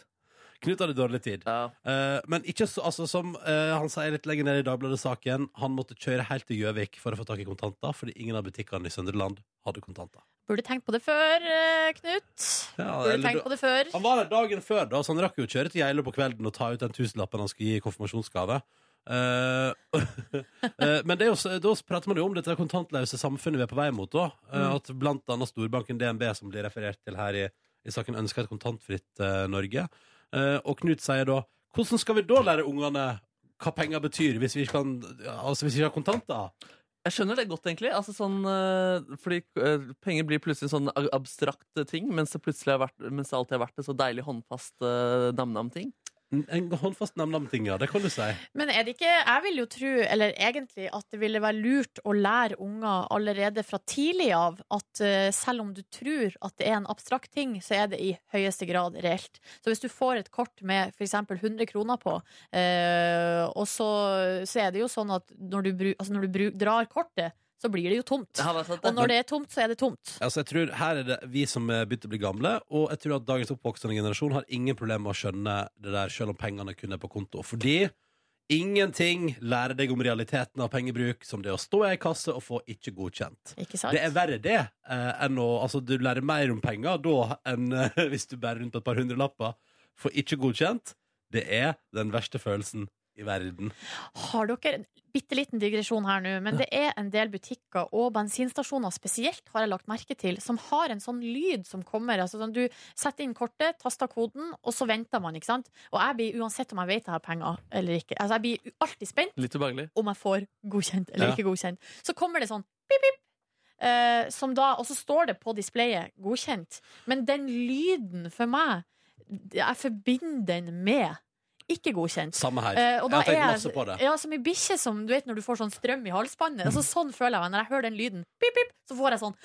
Knut hadde dårlig tid. Ja. Eh, men ikke så, altså, som eh, han sier litt lenger ned i Dagbladet-saken, han måtte kjøre helt til Gjøvik for å få tak i kontanter, fordi ingen av butikkene i Søndre Land hadde kontanter. Burde tenkt på det før, eh, Knut. Ja, Burde eller da- tenkt på det før. Han var der dagen før, da, så han rakk jo å kjøre til Geilo på kvelden og ta ut den tusenlappen han skulle gi i konfirmasjonsgave. Eh, eh, men det er jo, s- da prater man jo om dette kontantløse samfunnet vi er på vei mot. da Eh, Mm. At blant annet storbanken DNB, som blir referert til her i, i saken, ønsker et kontantfritt eh, Norge. Eh, og Knut sier da Hvordan skal vi da lære ungene hva penger betyr, hvis vi ikke, kan, altså hvis vi ikke har kontanter? Jeg skjønner det godt, egentlig. Altså, sånn, eh, fordi eh, penger blir plutselig en sånn a- abstrakt ting, mens det plutselig har vært, mens det alltid har vært en så deilig håndfast eh, nam-nam-ting. En håndfast nam-nam-ting, ja. Det kan du si. Men er det ikke Jeg vil jo tro, eller egentlig, at det ville være lurt å lære unger allerede fra tidlig av at eh, selv om du tror at det er en abstrakt ting, så er det i høyeste grad reelt. Så hvis du får et kort med f.eks. 100 kroner på, eh, og så, så er det jo sånn at når du, bru, altså når du bru, drar kortet, så blir det jo tomt. Ja, sånn det er sant, Og det. når det er tomt, så er det tomt. Altså, jeg tror Her er det vi som er begynt å bli gamle, og jeg tror at dagens oppvoksende generasjon har ingen problemer med å skjønne det der, selv om pengene kun er på konto. Fordi ingenting lærer deg om realiteten av pengebruk som det å stå i ei kasse og få ikke godkjent. Ikke sant? Det er verre det eh, enn å Altså, du lærer mer om penger da enn eh, hvis du bærer rundt på et par hundrelapper. For ikke godkjent, det er den verste følelsen i verden. Har dere en bitte liten digresjon her nå, men det er en del butikker og bensinstasjoner spesielt, har jeg lagt merke til, som har en sånn lyd som kommer. Altså sånn, du setter inn kortet, taster koden, og så venter man, ikke sant? Og jeg blir, uansett om jeg vet jeg har penger eller ikke, altså jeg blir alltid spent Litt ubehagelig. om jeg får godkjent eller Ja. ikke godkjent. Så kommer det sånn pip, pip. eh, som da, og så står det på displayet 'godkjent'. Men den lyden for meg, jeg forbinder den med 'ikke godkjent'. Samme her. Eh, og da jeg har tenkt er- masse på det. Ja, som i bikkje som du vet når du får sånn strøm i halsbåndet. Altså, sånn føler jeg meg når jeg hører den lyden. Pip, pip, så får jeg sånn.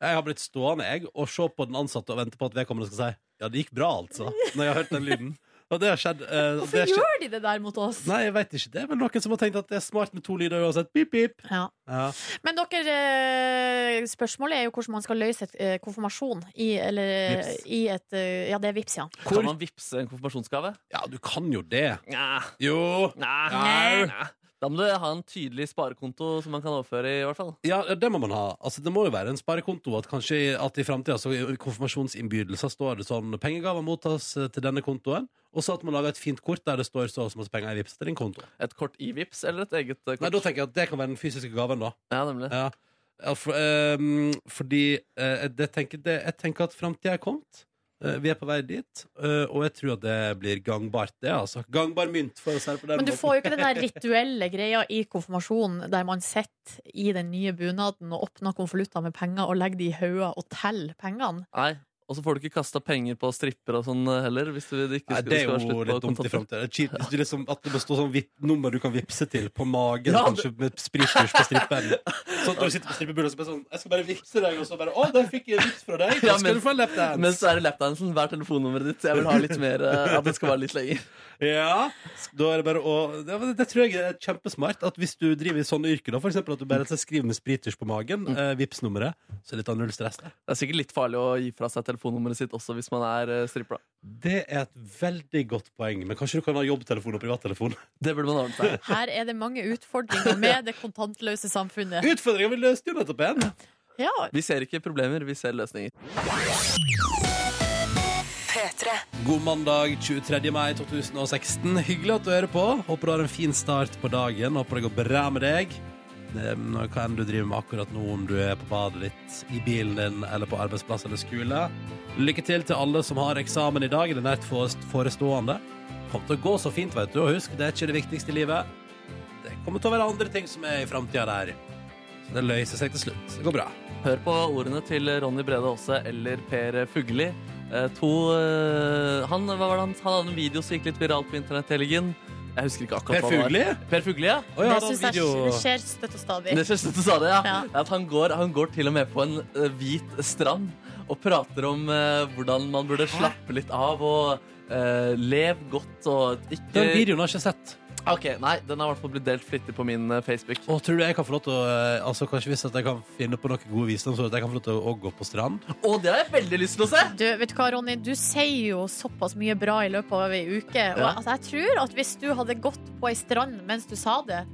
Jeg har blitt stående jeg, og se på den ansatte og vente på at vedkommende skal si Ja, det gikk bra, altså. Når jeg har hørt den lyden. Og det har skjedd. eh, og det Hvorfor har skjedd- gjør de det der mot oss? Nei, jeg vet ikke. Det er vel noen som har tenkt at det er smart med to lyder uansett. Pip, pip. Ja. Ja. Men dere, eh, spørsmålet er jo hvordan man skal løse et eh, konfirmasjon i, eller, Vips. i et eh, Ja, det er vips, ja. Hvor- Kan man vippse en konfirmasjonsgave? ja, du kan jo det. Nja, Jo. nja, Eh, Nei. nja. Da må du ha en tydelig sparekonto som man kan overføre i, i hvert fall. Ja, det må man ha. Altså, det må jo være en sparekonto. At kanskje i- at i framtida så i konfirmasjonsinnbydelser står det sånn pengegaver mottas eh, til denne kontoen. Og så at man lager et fint kort der det står så og så masse penger i vips til din konto. Et kort i Vipps eller et eget eh, kort. Nei, Da tenker jeg at det kan være den fysiske gaven, da. Ja, nemlig. Ja. Ja, for, ehm, fordi eh, det tenker, det, jeg tenker at framtida er kommet. Eh, vi er på vei dit. eh, og jeg tror at det blir gangbart, det. altså Gangbar mynt, for å si det på den Men du får jo ikke den der rituelle greia i konfirmasjonen der man sitter i den nye bunaden og åpner konvolutter med penger og legger de i hauger og teller pengene. Nei. Og så får du ikke kasta penger på stripper og sånn eh, heller. Hvis du ikke Nei, skal- det er skal ha jo slutt på litt dumt i kontanter. framtida. Liksom, at det består sånn vipp- nummer du kan vippse til på magen, Ja, kanskje med spritkurs på strippen. Sånn at når du sitter på strippebulen og så bare sånn Jeg skal bare vippse deg, og så bare Å, der fikk jeg vips fra deg! Da Ja, skal men- du få en Men så lapdance! er det lapdansen. Hver telefonnummeret ditt. Jeg vil ha litt mer eh, At det skal vare litt lenger. Ja, da er det bare å ja, men Det tror jeg er kjempesmart. At hvis du driver i sånne yrker, da, for eksempel at du bare skriver med spritkurs på magen, eh, vips nummeret, så er det litt av null stress. der. Det er sikkert litt farlig å gi fra seg telefonnummeret sitt også hvis man er eh, stripper. da. Det er et veldig godt poeng. Men kanskje du kan ha jobbtelefon og privattelefon? Det burde man ordne seg. Her er det mange utfordringer med det kontantløse samfunnet. Utfordringa vi løste jo nettopp en! Ja, Vi ser ikke problemer, vi ser løsninger. God mandag 23. mai 2016. Hyggelig at du hører på. Håper du har en fin start på dagen. Håper det går bra med deg. Eh, Hva enn du driver med akkurat nå, om du er på badet ditt, i bilen din eller på arbeidsplass eller skole. Lykke til til alle som har eksamen i dag eller nært forest- forestående. Kommer til å gå så fint, vet du. Og husk, det er ikke det viktigste i livet. Det kommer til å være andre ting som er i framtida der. Så det løser seg til slutt. Det går bra. Hør på ordene til Ronny Brede Aase eller Per Fugelli. Eh, To eh, Han hva var det han, han hadde en video som gikk litt viralt på internett i helgen. Jeg husker ikke akkurat Per hva det var. Fugli? Per Fugli, ja. Å ja, det da syns jeg video- det skjer støtt og stadig. Det synes jeg du sa det, ja. Ja. At han går, han går til og med på en eh, hvit strand og prater om eh, hvordan man burde slappe litt av og eh, lev godt og ikke Den videoen har jeg ikke sett. Ok, nei, den har i hvert fall blitt delt flittig på min eh, Facebook. Og tror du jeg kan få lov til å eh, Altså kanskje hvis at jeg kan finne på noen gode visdom, så at jeg kan få lov til å gå på strand? Og det har jeg veldig lyst til å se! Du, vet du hva, Ronny, du sier jo såpass mye bra i løpet av ei uke. Og Ja. altså, jeg tror at hvis du hadde gått på ei strand mens du sa det,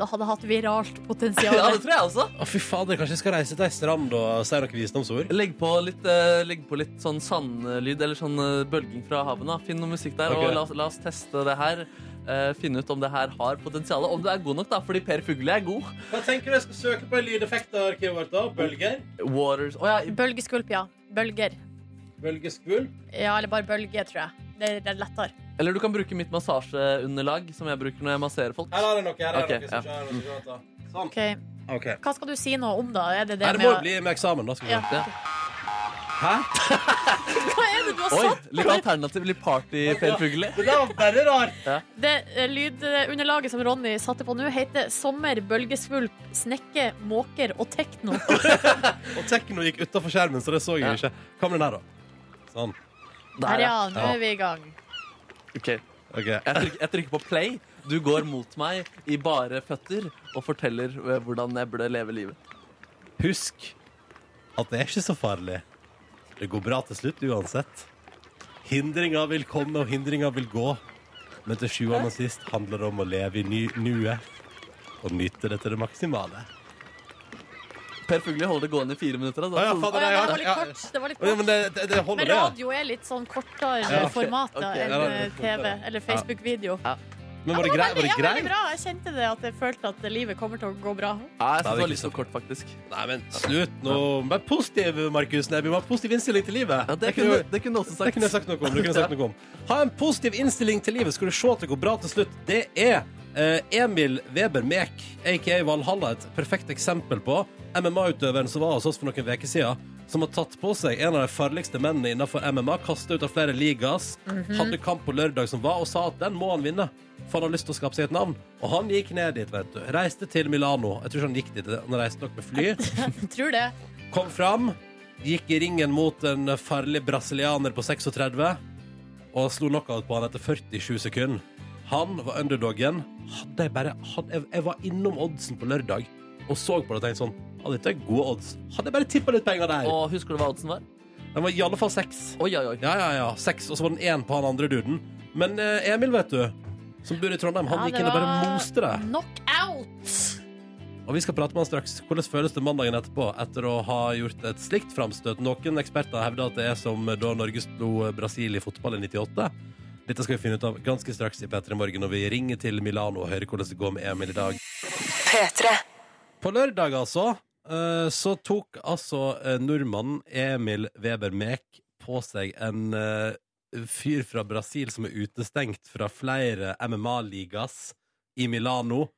da hadde jeg hatt viralt Ja, potensial. det tror jeg også. Å, fy fader, kanskje jeg skal reise til ei strand og si noen visdomsord? Legg på litt, eh, legg på litt sånn sandlyd eller sånn eh, bølging fra havet. da. Finn noe musikk der, Ok. og la, oss- la oss teste det her. Eh, finne ut om det her har potensial. Om du er god nok, da, fordi Per Fugle er god. Hva tenker du jeg skal søke på i lydeffektarkivet vårt, da? Bølger? Waters Å ja, Bølgeskulp, ja. Bølger. Bølgeskvulp? Ja, eller bare bølger, tror jeg. Det er- det er lettere. Eller du kan bruke mitt massasjeunderlag, som jeg bruker når jeg masserer folk. Her har jeg noe. her er Ok, noe som Sånn. Ok. OK. Hva skal du si noe om, da? Er det det Nei, det må med jo å- bli med eksamen, da. Skal vi. Ja. se. Ja. Hæ? Hva er det du har Oi, sagt? litt alternativ, litt party, Per Fugle. Det der var bare rart. Det eh, lydunderlaget som Ronny satte på nå, heter Sommer, bølgesvulp, snekke, måker og tekno. Og tekno gikk utafor skjermen, så det så jeg Ja. ikke. Hva med den her, da? Sånn. Der, Der, ja. ja. Nå er vi i gang. Ok, Jeg, OK. trykker, jeg trykker på play. Du går mot meg i bare føtter og forteller eh, hvordan jeg burde leve livet. Husk at det er ikke så farlig. Det går bra til slutt uansett. Hindringer vil komme, og hindringer vil gå. Men til sjuende og sist handler det om å leve i ny- nuet og nyte det til det maksimale. Per Fugle holder det gående i fire minutter. Å, Altså. ja, det var litt kort. Det var litt Ja, men kort. det, det, det Men holder, det. radio er litt sånn kortere format da, ok. enn Ja, det eh, er litt TV kortere. eller Facebook-video. Men var det grei- var Ja, det veldig greit? bra. Jeg kjente det at jeg følte at livet kommer til å gå bra. Ja, Da er jeg synes vi det var ikke litt så- for kort, faktisk. Nei, men slutt nå. Vær positiv, Markus Neby. Vær positiv innstilling til livet. Ja, det, Jeg kunne, jo- det kunne du også Det sagt. kunne jeg sagt noe om. Det kunne jeg sagt noe om. Ha en positiv innstilling til livet. Skal du se at det går bra til slutt. Det er eh, Emil Weber Mek, aka Valhalla, et perfekt eksempel på MMA-utøveren som var hos oss for noen uker siden, som har tatt på seg en av de farligste mennene innenfor MMA, kasta ut av flere ligas, Mhm. hadde kamp på lørdag som var, og sa at den må han vinne. For han har lyst til å skape seg et navn. Og han gikk ned dit, vet du. Reiste til Milano. Jeg tror ikke han gikk dit, han reiste nok med fly. Tror det. Kom fram, gikk i ringen mot en farlig brasilianer på 36 og slo knockout på han etter 47 sekunder. Han var underdogen. Hadde jeg, bare, hadde, jeg, jeg var innom oddsen på lørdag og så på det og tenkte sånn Ja, dette er gode odds. Hadde jeg bare tippa litt penger der! Og husker du hva oddsen var? Den var i alle fall seks. Oi, oi, oi. Ja, ja, ja. Seks, og så var den én på han andre duden. Men eh, Emil, vet du, som bor i Trondheim. Han Ja, gikk inn og bare moste det. Knockout! Og vi skal prate med han straks. Hvordan føles det mandagen etterpå etter å ha gjort et slikt framstøt? Noen eksperter hevder at det er som da Norge slo Brasil i fotball i 98. Dette skal vi finne ut av ganske straks i P3 Morgen når vi ringer til Milano og hører hvordan det går med Emil i dag. På lørdag, altså, eh, så tok altså eh, nordmannen Emil Weber Mek på seg en eh, fyr fra Brasil som er utestengt fra flere MMA-ligas i Milano,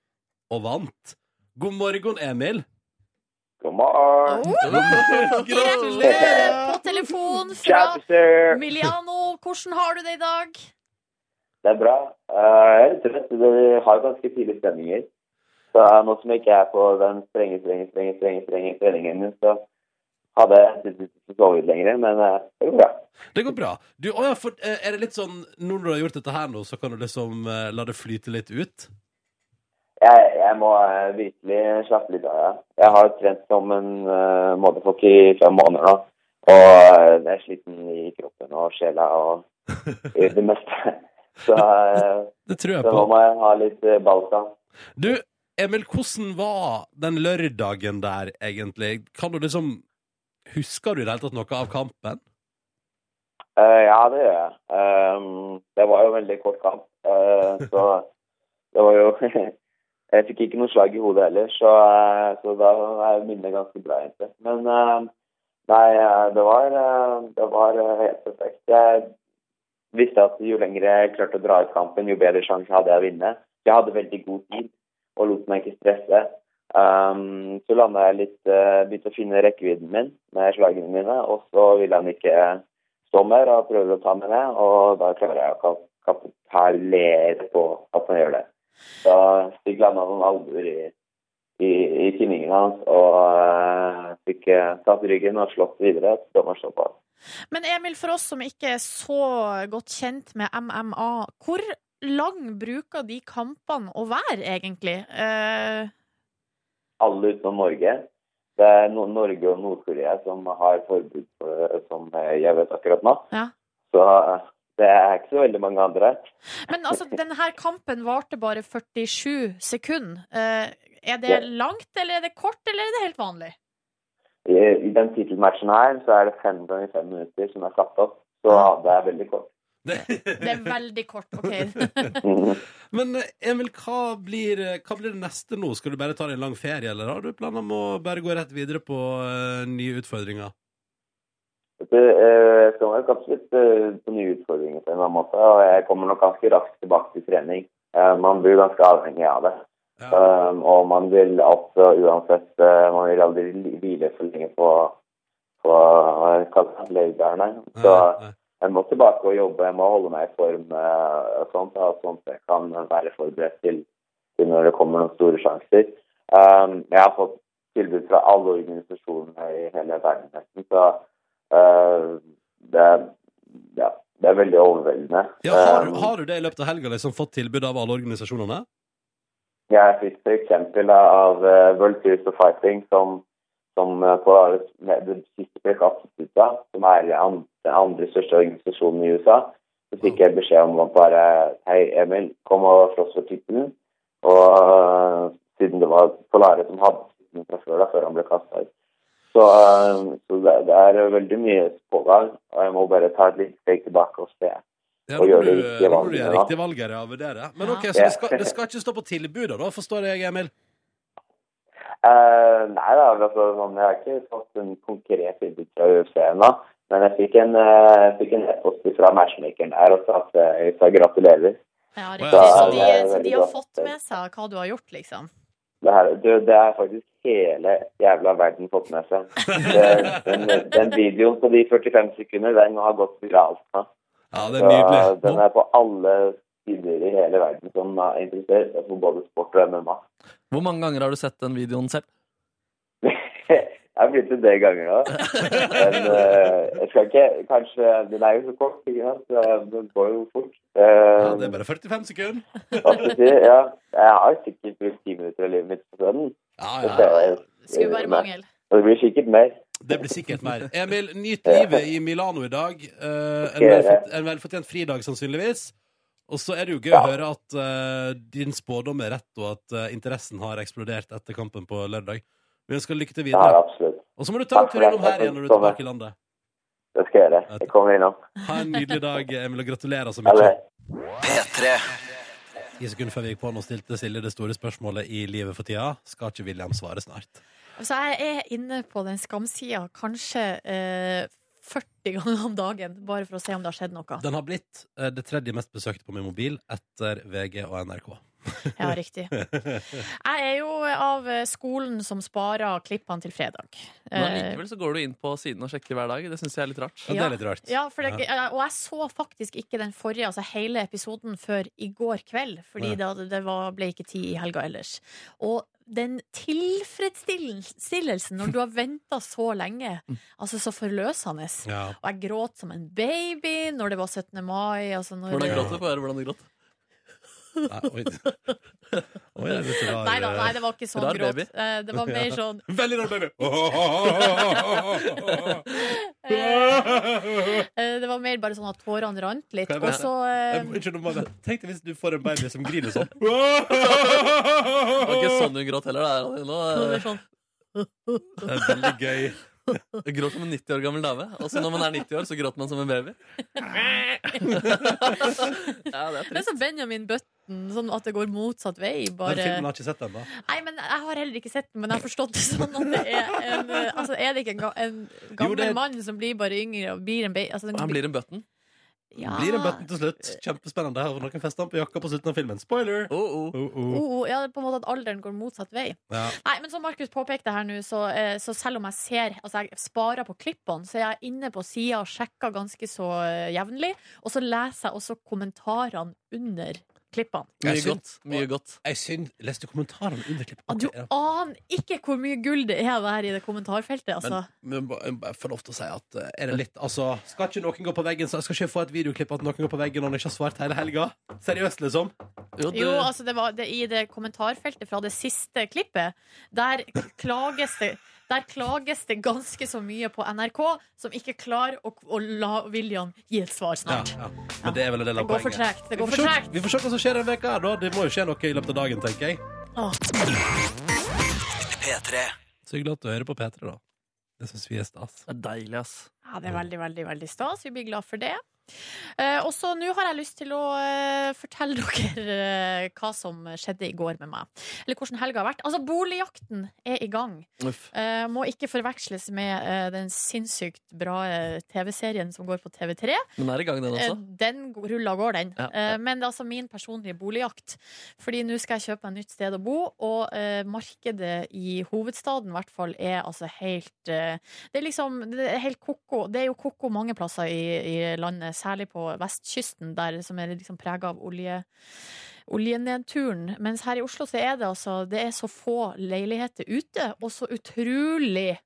og vant. God morgen, Emil. God morgen. Gratulerer på telefon fra Chapter. Miliano. Hvordan har du det i dag? Det er bra. Eh, Jeg er litt trøtt. Dere har ganske fine stemninger. Så eh, nå som jeg ikke er på den strenge, strenge, strenge, strenge, strenge treningen min, så hadde jeg sittet ikke sovet lenger, men eh, det går bra. Det går bra. Du, å ja, for, eh, er det litt sånn Nå når du har gjort dette her nå, så kan du liksom eh, la det flyte litt ut? Jeg, jeg må eh, virkelig slappe litt av. Ja. Jeg har trent som en uh, motherfucker i fem måneder nå. Og eh, jeg er sliten i kroppen og sjela og i det meste. Så, eh, Det tror jeg så nå på. må jeg ha litt uh, balsam. Du, Emil, hvordan var den lørdagen der, egentlig? Kan du liksom Husker du i det hele tatt noe av kampen? Eh, ja, det gjør jeg. Ehm, det var jo en veldig kort kamp, eh, så det var jo Jeg fikk ikke noe slag i hodet heller, så, eh, så da er minnet ganske bra, egentlig. Men eh, nei, eh, det var, eh, det var eh, helt perfekt. Jeg visste at jo lenger jeg klarte å dra ut kampen, jo bedre sjanse hadde jeg å vinne. Jeg hadde veldig god tid og lot meg ikke stresse. Ehm, så landa jeg litt eh, Begynte å finne rekkevidden min med slagene mine, og så ville han ikke sommer og prøver å ta med det, og da klarer jeg å kap- kapitalere på at han gjør det. Da fikk han noen albuer i, i, i tinningen hans og eh, fikk eh, tatt ryggen og slått videre. Så må han slå på. Men Emil, for oss som ikke er så godt kjent med MMA, hvor lang bruker de kampene å være, egentlig? Eh, Alle utenom Norge. Det er no Norge og Nord-Korea som har forbud for det, som eh, jeg vet akkurat nå. Ja. Så eh, det er ikke så veldig mange andre. men altså, denne kampen varte bare 47 sekunder. Eh, er Ja. det langt, eller er det kort, eller er det helt vanlig? I, i den titelmatchen her så er det fem ganger fem minutter som er satt opp, så det er veldig kort. Det er veldig kort, OK. Men eh, Emil, hva blir, eh, hva blir det neste nå? Skal du bare ta deg en lang ferie, eller har du planer om å bare gå rett videre på eh, nye utfordringer? Vet du, eh, Jeg skal nok absolutt eh, på nye utfordringer på en eller annen måte, og jeg kommer nok ganske raskt tilbake til trening. Eh, Man blir ganske avhengig av det. Ja. Um, Og man vil altså uansett eh, Man vil aldri li- hvile for lenge på, på eh, kall det laurdagene. Så Eh, eh. jeg må tilbake og jobbe, jeg må holde meg i form eh, og sånt, da, sånn at jeg kan være forberedt til, til når det kommer noen store sjanser. Um, jeg har fått tilbud fra alle organisasjonene i hele verden, nesten, så eh, det, er- ja, det er veldig overveldende. Ja, har, Um, har du det i løpet av helga, liksom fått tilbud av alle organisasjonene? Jeg fikk for eksempel av eh, World Series of Fighting, som, som eh, på med det siste plakatet, som er an- den andre største organisasjonen i USA, så fikk jeg beskjed om å bare Hei, Emil, kom og slåss for tittelen. Og eh, siden det var Polare som hadde tittelen fra før, da, før han ble kasta ut. Så, eh, så det, det er veldig mye pågang, og jeg må bare ta et lite steg tilbake og se. Ja, da må Og gjør du, det riktige da må du valget, gjøre ja. riktig valg her, ja, vurdere. Men Ja. ok, så det Ja. skal, det skal ikke stå på tilbudet, da, forstår jeg, Emil? Eh, nei da, altså, sånn, jeg har ikke fått en konkret tilbud fra UFC ennå. Men jeg fikk en, eh, jeg fikk en e-post fra matchmakeren der og sa at eh, jeg sa gratulerer. Ja, Ja, riktig. Så de, det er så veldig de har bra. fått med seg hva du har gjort, liksom? Det, her, du, det er faktisk hele jævla verden fått med seg. Det- Den, den videoen på de 45 sekunder, den har gått viralt nå. Ja, det er Så, nydelig. Den Nå, er på alle sider i hele verden som er interessert, altså både sport og MMA. Hvor mange ganger har du sett den videoen selv? Jeg har blitt til det ganger nå. Men eh, jeg skal ikke Kanskje Den er jo så kort, ikke sant? så Den går jo fort. Eh, ja, det er bare 45 sekunder. hva skal jeg si? ja. Jeg har sikkert brukt ti minutter av livet mitt på den. Ja, Det ja. ser jeg. Skulle bare mangel. Og det blir sikkert mer. Det blir sikkert mer. Emil, nyt livet i Milano i dag. Eh, en, Ok, velfort, en velfortjent fridag, sannsynligvis. Og så er det jo gøy å Ja. høre at eh, din spådom er rett, og at eh, interessen har eksplodert etter kampen på lørdag. Vi ønsker lykke til Det har videre. jeg absolutt. Og så må du ta en Takk for tur det. innom her igjen når du er Takk for det. tilbake i landet. Det skal jeg gjøre. Jeg kommer innom. Ha en nydelig dag, Emil, og gratulerer så Eller mye. Ti sekunder før vi gikk på, nå stilte Silje det store spørsmålet i livet for tida. Skal ikke William svare snart? Så jeg er inne på den skamsida kanskje eh, 40 ganger om dagen, bare for å se om det har skjedd noe. Den har blitt eh, det tredje mest besøkte på min mobil etter VG og NRK. Ja, riktig. Jeg er jo av eh, skolen som sparer klippene til fredag. Men Eh, allikevel så går du inn på siden og sjekker hver dag. Det syns jeg er litt rart. Ja, det er litt rart. Ja, for det, og jeg så faktisk ikke den forrige, altså hele episoden, før i går kveld. Fordi Nei. da det var, ble ikke tid i helga ellers. Og den tilfredsstillelsen når du har venta så lenge, altså så forløsende. Mm. Ja. Og jeg gråt som en baby når det var 17. mai. Altså når Hvordan det- gråt du? Få høre hvordan du gråt. Nei, oi. Oi, det er litt rar Nei da, nei, det var ikke sånn Rar gråt. baby. Eh, Det var mer Ja. sånn Veldig rar baby! Jeg eh, eh, Det var mer bare sånn at tårene rant litt. Kan jeg Og bare- så må- eh, Unnskyld, nå må jeg- tenk deg hvis du får en baby som griner sånn. Det var ikke sånn hun gråt heller. Det er Ronny, så nå. det er sånn Det er veldig gøy. eh, Jeg gråt som en 90 år gammel dame. Og så når man er 90 år, så gråter man som en baby. ja, det er Men trist. så Benjamin Button, sånn at det går motsatt vei. Bare... Den filmen har jeg ikke sett ennå. Nei, men Jeg har heller ikke sett den, men jeg har forstått det sånn at det er en eh, Altså, er det ikke en, ga en gammel Jo, det er- mann som blir bare yngre og blir en baby? Altså, den- Han blir en button. ja. Blir en button til slutt. Kjempespennende. Her har noen festet han på jakka på slutten av filmen. Spoiler! Oh, oh. Oh, oh. Oh, ja, på en måte at alderen går motsatt vei. Ja. Nei, men som Markus påpekte her nå, så, eh, så selv om jeg ser Altså, jeg sparer på klippene, så er jeg inne på sida og sjekker ganske så eh, jevnlig. Og så leser jeg også kommentarene under klippene. Jeg Mye syns- godt. Mye godt. Jeg syns Leste kommentarene under klippet. Ah, Du Ja. aner ikke hvor mye gull det er der i det kommentarfeltet, altså. Men, men ba- jeg bare får lov til å si at eh, er det litt Altså, skal ikke noen gå på veggen? Så skal ikke jeg få et videoklipp at noen går på veggen og han ikke har svart hele helga? Seriøst, liksom? Jo, du, Jo, altså det var det, I det kommentarfeltet fra det siste klippet, der klages det der klages det ganske så mye på NRK, som ikke klarer å, å la William gi et svar Ja, snart. ja. Men det er vel en del Det av går for poenget. tregt. Det Vi går får, for se, tregt. vi får se hva som skjer denne veka her, da. Det må jo skje noe i løpet av dagen, tenker jeg. Åh. Så hyggelig at du hører på P3, da. Det syns vi er stas. Det er deilig, ass. Ja, det er veldig, veldig veldig stas. Vi blir glad for det. Eh, og så nå har jeg lyst til å eh, fortelle dere eh, hva som skjedde i går med meg. Eller hvordan helga har vært. Altså, boligjakten er i gang. Uff. Eh, må ikke forveksles med eh, den sinnssykt bra eh, TV-serien som går på TV3. Men er i gang, den Eh, også. den g- rulla går, den. Ja. Eh, men det er altså min personlige boligjakt. Fordi nå skal jeg kjøpe meg nytt sted å bo, og eh, markedet i hovedstaden i hvert fall er altså helt eh, Det er liksom det er helt koko. Det er jo koko mange plasser i, i landet, særlig på vestkysten, der som er liksom prega av olje. Oljenedturen. Mens her i Oslo så er det altså Det er så få leiligheter ute, og så utrolig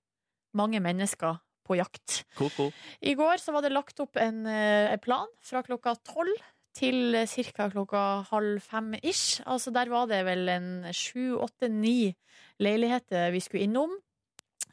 mange mennesker på jakt. Ko-ko. I går så var det lagt opp en, eh, en plan fra klokka tolv til ca. klokka halv fem ish. Altså der var det vel en sju, åtte, ni leiligheter vi skulle innom.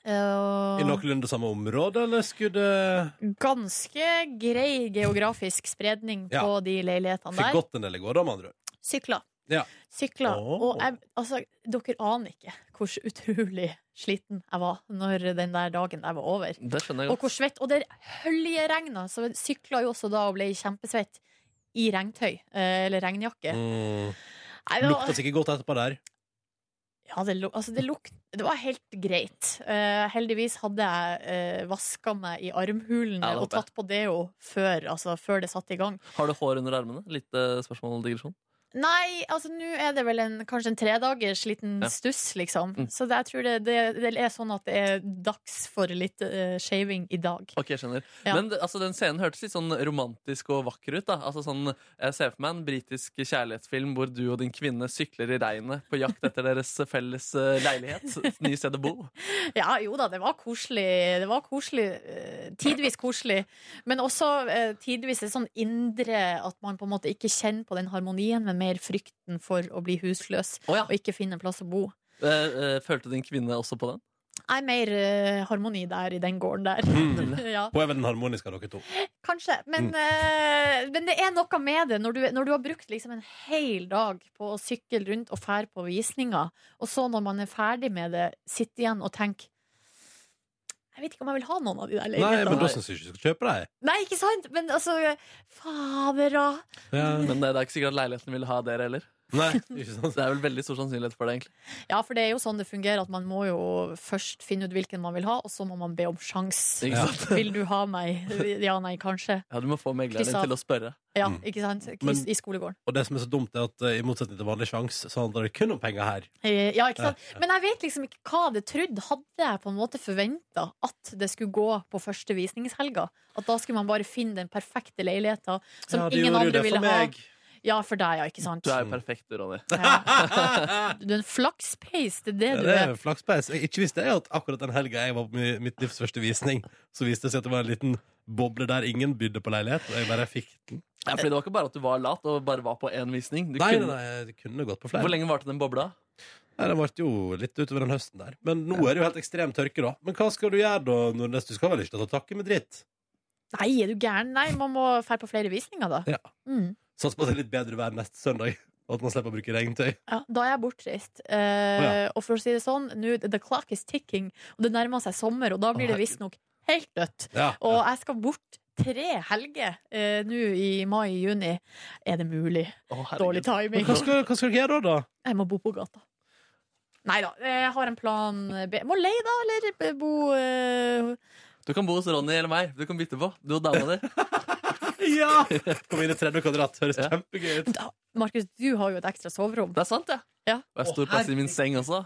Eh, I noenlunde samme område, eller skulle det ganske grei geografisk spredning på Ja. de leilighetene Fikk der. gått en del i går, da, med andre ord. Sykla. Ja. Sykla. Åh. Og jeg, altså, dere aner ikke hvor utrolig sliten jeg var når den der dagen der var over. Det skjønner jeg Og hvor godt. svett. Og det hølje regna, så jeg sykla jo også da og ble kjempesvett. I regntøy, eh, eller regnjakke. Mm. Nei, det, Lukta var, sikkert godt etterpå der. ja, det, lu- altså, det, luk, det var helt greit. Eh, heldigvis hadde jeg uh, vaska meg i armhulene Ja, det og håper jeg. tatt på deo før, altså, før det satte i gang. Har du hår under armene? Lite spørsmål og digresjon. Nei, altså nå er det vel en, kanskje en tredagers liten Ja. stuss, liksom. Mm. Så det, jeg tror det, det, det er sånn at det er dags for litt eh, shaving i dag. Ok, jeg skjønner. Ja. Men det- altså, den scenen hørtes litt sånn romantisk og vakker ut. da. Altså, sånn, jeg ser for meg en britisk kjærlighetsfilm hvor du og din kvinne sykler i regnet på jakt etter deres felles eh, leilighet. et Nye sted å bo. Ja, jo da, det var koselig. Det var koselig. eh, Tidvis koselig. Men også eh, tidvis et sånn indre at man på en måte ikke kjenner på den harmonien, men mer frykten for å bli husløs Å ja. og ikke finne en plass å bo. Eh, eh, Følte din kvinne også på den? Jeg er mer eh, harmoni der i den gården der. Mm. ja, Hun er vel den harmoniske av dere to. kanskje. Men, eh, men det er noe med det når du, når du har brukt liksom en hel dag på å sykle rundt og fære på visninger, og så når man er ferdig med det, sitte igjen og tenke Jeg vet ikke om jeg vil ha noen av de der Nei, men da leilighetene. syns jeg ikke du skal kjøpe deg. Nei, ikke sant? Men altså Fader, da. Ja. Men eh, det er ikke sikkert at leiligheten vil ha dere heller. Nei, ikke sant? Så det er vel veldig stor sannsynlighet for det, egentlig. Ja, for det er jo sånn det fungerer, at man må jo først finne ut hvilken man vil ha, og så må man be om sjans. Ikke Ja. sant? Vil du ha meg? Ja, nei, kanskje. Ja, du må få megleren Kryss av. din til å spørre. Ja, Mm. ikke sant? Men- Kryss I skolegården. Og det som er så dumt, er at eh, i motsetning til vanlig sjans, så handler det kun om penger her. Eh, Ja, ikke sant? Men jeg vet liksom ikke hva det trodde. Hadde jeg på en måte forventa at det skulle gå på første visningshelga? At da skulle man bare finne den perfekte leiligheta som Ja, det ingen gjorde jo andre det ville for ha? meg. Ja, for deg, ja, ikke sant? Du er jo perfekt, du, Ronny. Ja. Du er en flakspeis, det er det du Det er. er flakspeis. Jeg ikke visste jeg at akkurat den helga jeg var på mi- mitt livs første visning, så viste det seg at det var en liten boble der ingen bydde på leilighet, og jeg bare fikk den. Ja, fordi det var ikke bare at du var lat og bare var på én visning. Du Nei, nei, kunne... nei, det kunne gått på Hvor flere. lenge varte den bobla? Nei, det varte jo litt utover den høsten der. Men nå er det jo helt ekstrem tørke, da. Men hva skal du gjøre da, Nordnes? Du skal vel ikke ta takke med dritt? Nei, er du gæren? Nei, man må dra på flere visninger, da. Ja. Mm. Satser på at det er litt bedre vær neste søndag, og at man slipper å bruke regntøy. Ja, da er jeg bortreist. Eh, Å ja. Og for å si det sånn, nå, the clock is ticking, og det nærmer seg sommer, og da blir det visstnok helt dødt. Ja, Og jeg skal bort tre helger eh, nå i mai-juni. Er det mulig? Å, herregud. Dårlig timing. Men hva skal, hva skal dere gjøre da, da? Jeg må bo på gata. Nei da, jeg har en plan B. Må leie, da, eller bo eh, Du kan bo hos Ronny eller meg. Du kan bytte på. Du og dama di. Ja! På mine 30 kvadrat. Høres Ja. kjempegøy ut. da- Markus, du har jo et ekstra soverom. Det er sant, ja. Ja. Og jeg har Å, stor plass i min seng også.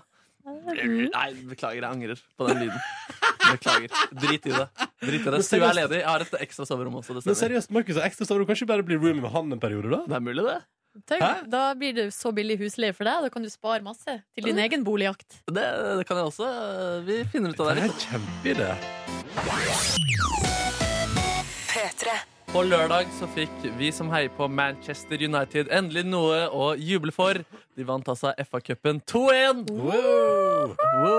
Mm. Nei, beklager. Jeg angrer på den lyden. Beklager. Drit i det. Drit i det. Men Stua er seriøst- ledig. Jeg har et ekstra soverom også. Det, Men stemmer. seriøst, Markus, ekstra står du kanskje bare blir roomie med han en periode, da? det er mulig, det. Tenk, Da blir det så billig husleie for deg, da kan du spare masse til din egen boligjakt. det. Det kan jeg også. Vi finner ut av det Det litt. er en kjempeidé. På lørdag så fikk vi som heier på Manchester United, endelig noe å juble for. De vant altså FA-cupen 2-1! Wow.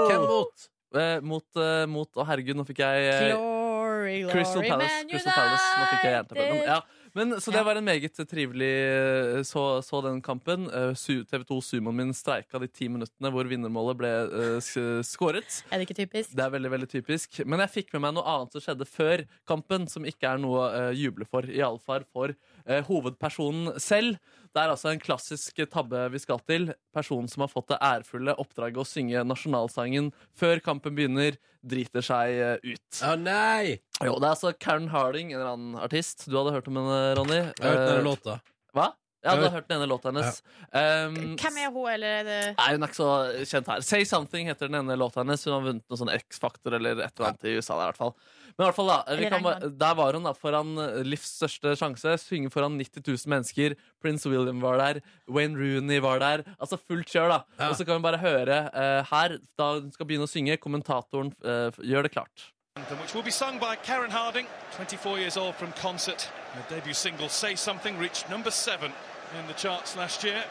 Hvem Wow. mot? Eh, mot, eh, mot Å, herregud, nå fikk jeg eh, Glory, glory, Crystal Palace. Man Crystal Palace. Nå fikk jeg hjerteblødning. United. Ja. Men, så det Ja. var en meget trivelig eh, Så, så den kampen. Eh, Su- TV2 Sumoen min streika de ti minuttene hvor vinnermålet ble eh, s- skåret. Er det ikke typisk? Det er veldig veldig typisk. Men jeg fikk med meg noe annet som skjedde før kampen, som ikke er noe å juble for. Iallfall for eh, hovedpersonen selv. Det er altså en klassisk tabbe vi skal til. Personen som har fått det ærefulle oppdraget å synge nasjonalsangen før kampen begynner, driter seg eh, ut. Å nei! Jo, det er altså Karen Harding, en eller annen artist. Du hadde hørt om henne, Ronny? Jeg har hørt Eh, denne låta. Hva? Ja, Jeg du har har hørt den ene låta hennes. Um, Hvem er hun, eller er det Nei, hun er ikke så kjent her. Say Something heter den ene låta hennes. Hun har vunnet noen sånn X-Factor eller et eller annet i USA. Der, i hvert fall. Men i hvert fall da, vi Eller kan, bare- England. der var hun da foran eh, livs største sjanse. Synge foran 90 000 mennesker. Prince William var der. Wayne Rooney var der. Altså fullt kjør, da. Ja. Og så kan vi bare høre eh, her, da hun skal begynne å synge, kommentatoren eh, gjør det klart. anthem, which will be sung by Karen Harding, 24 years old from concert. Her debut single, Say Something, reached number seven in the charts last year.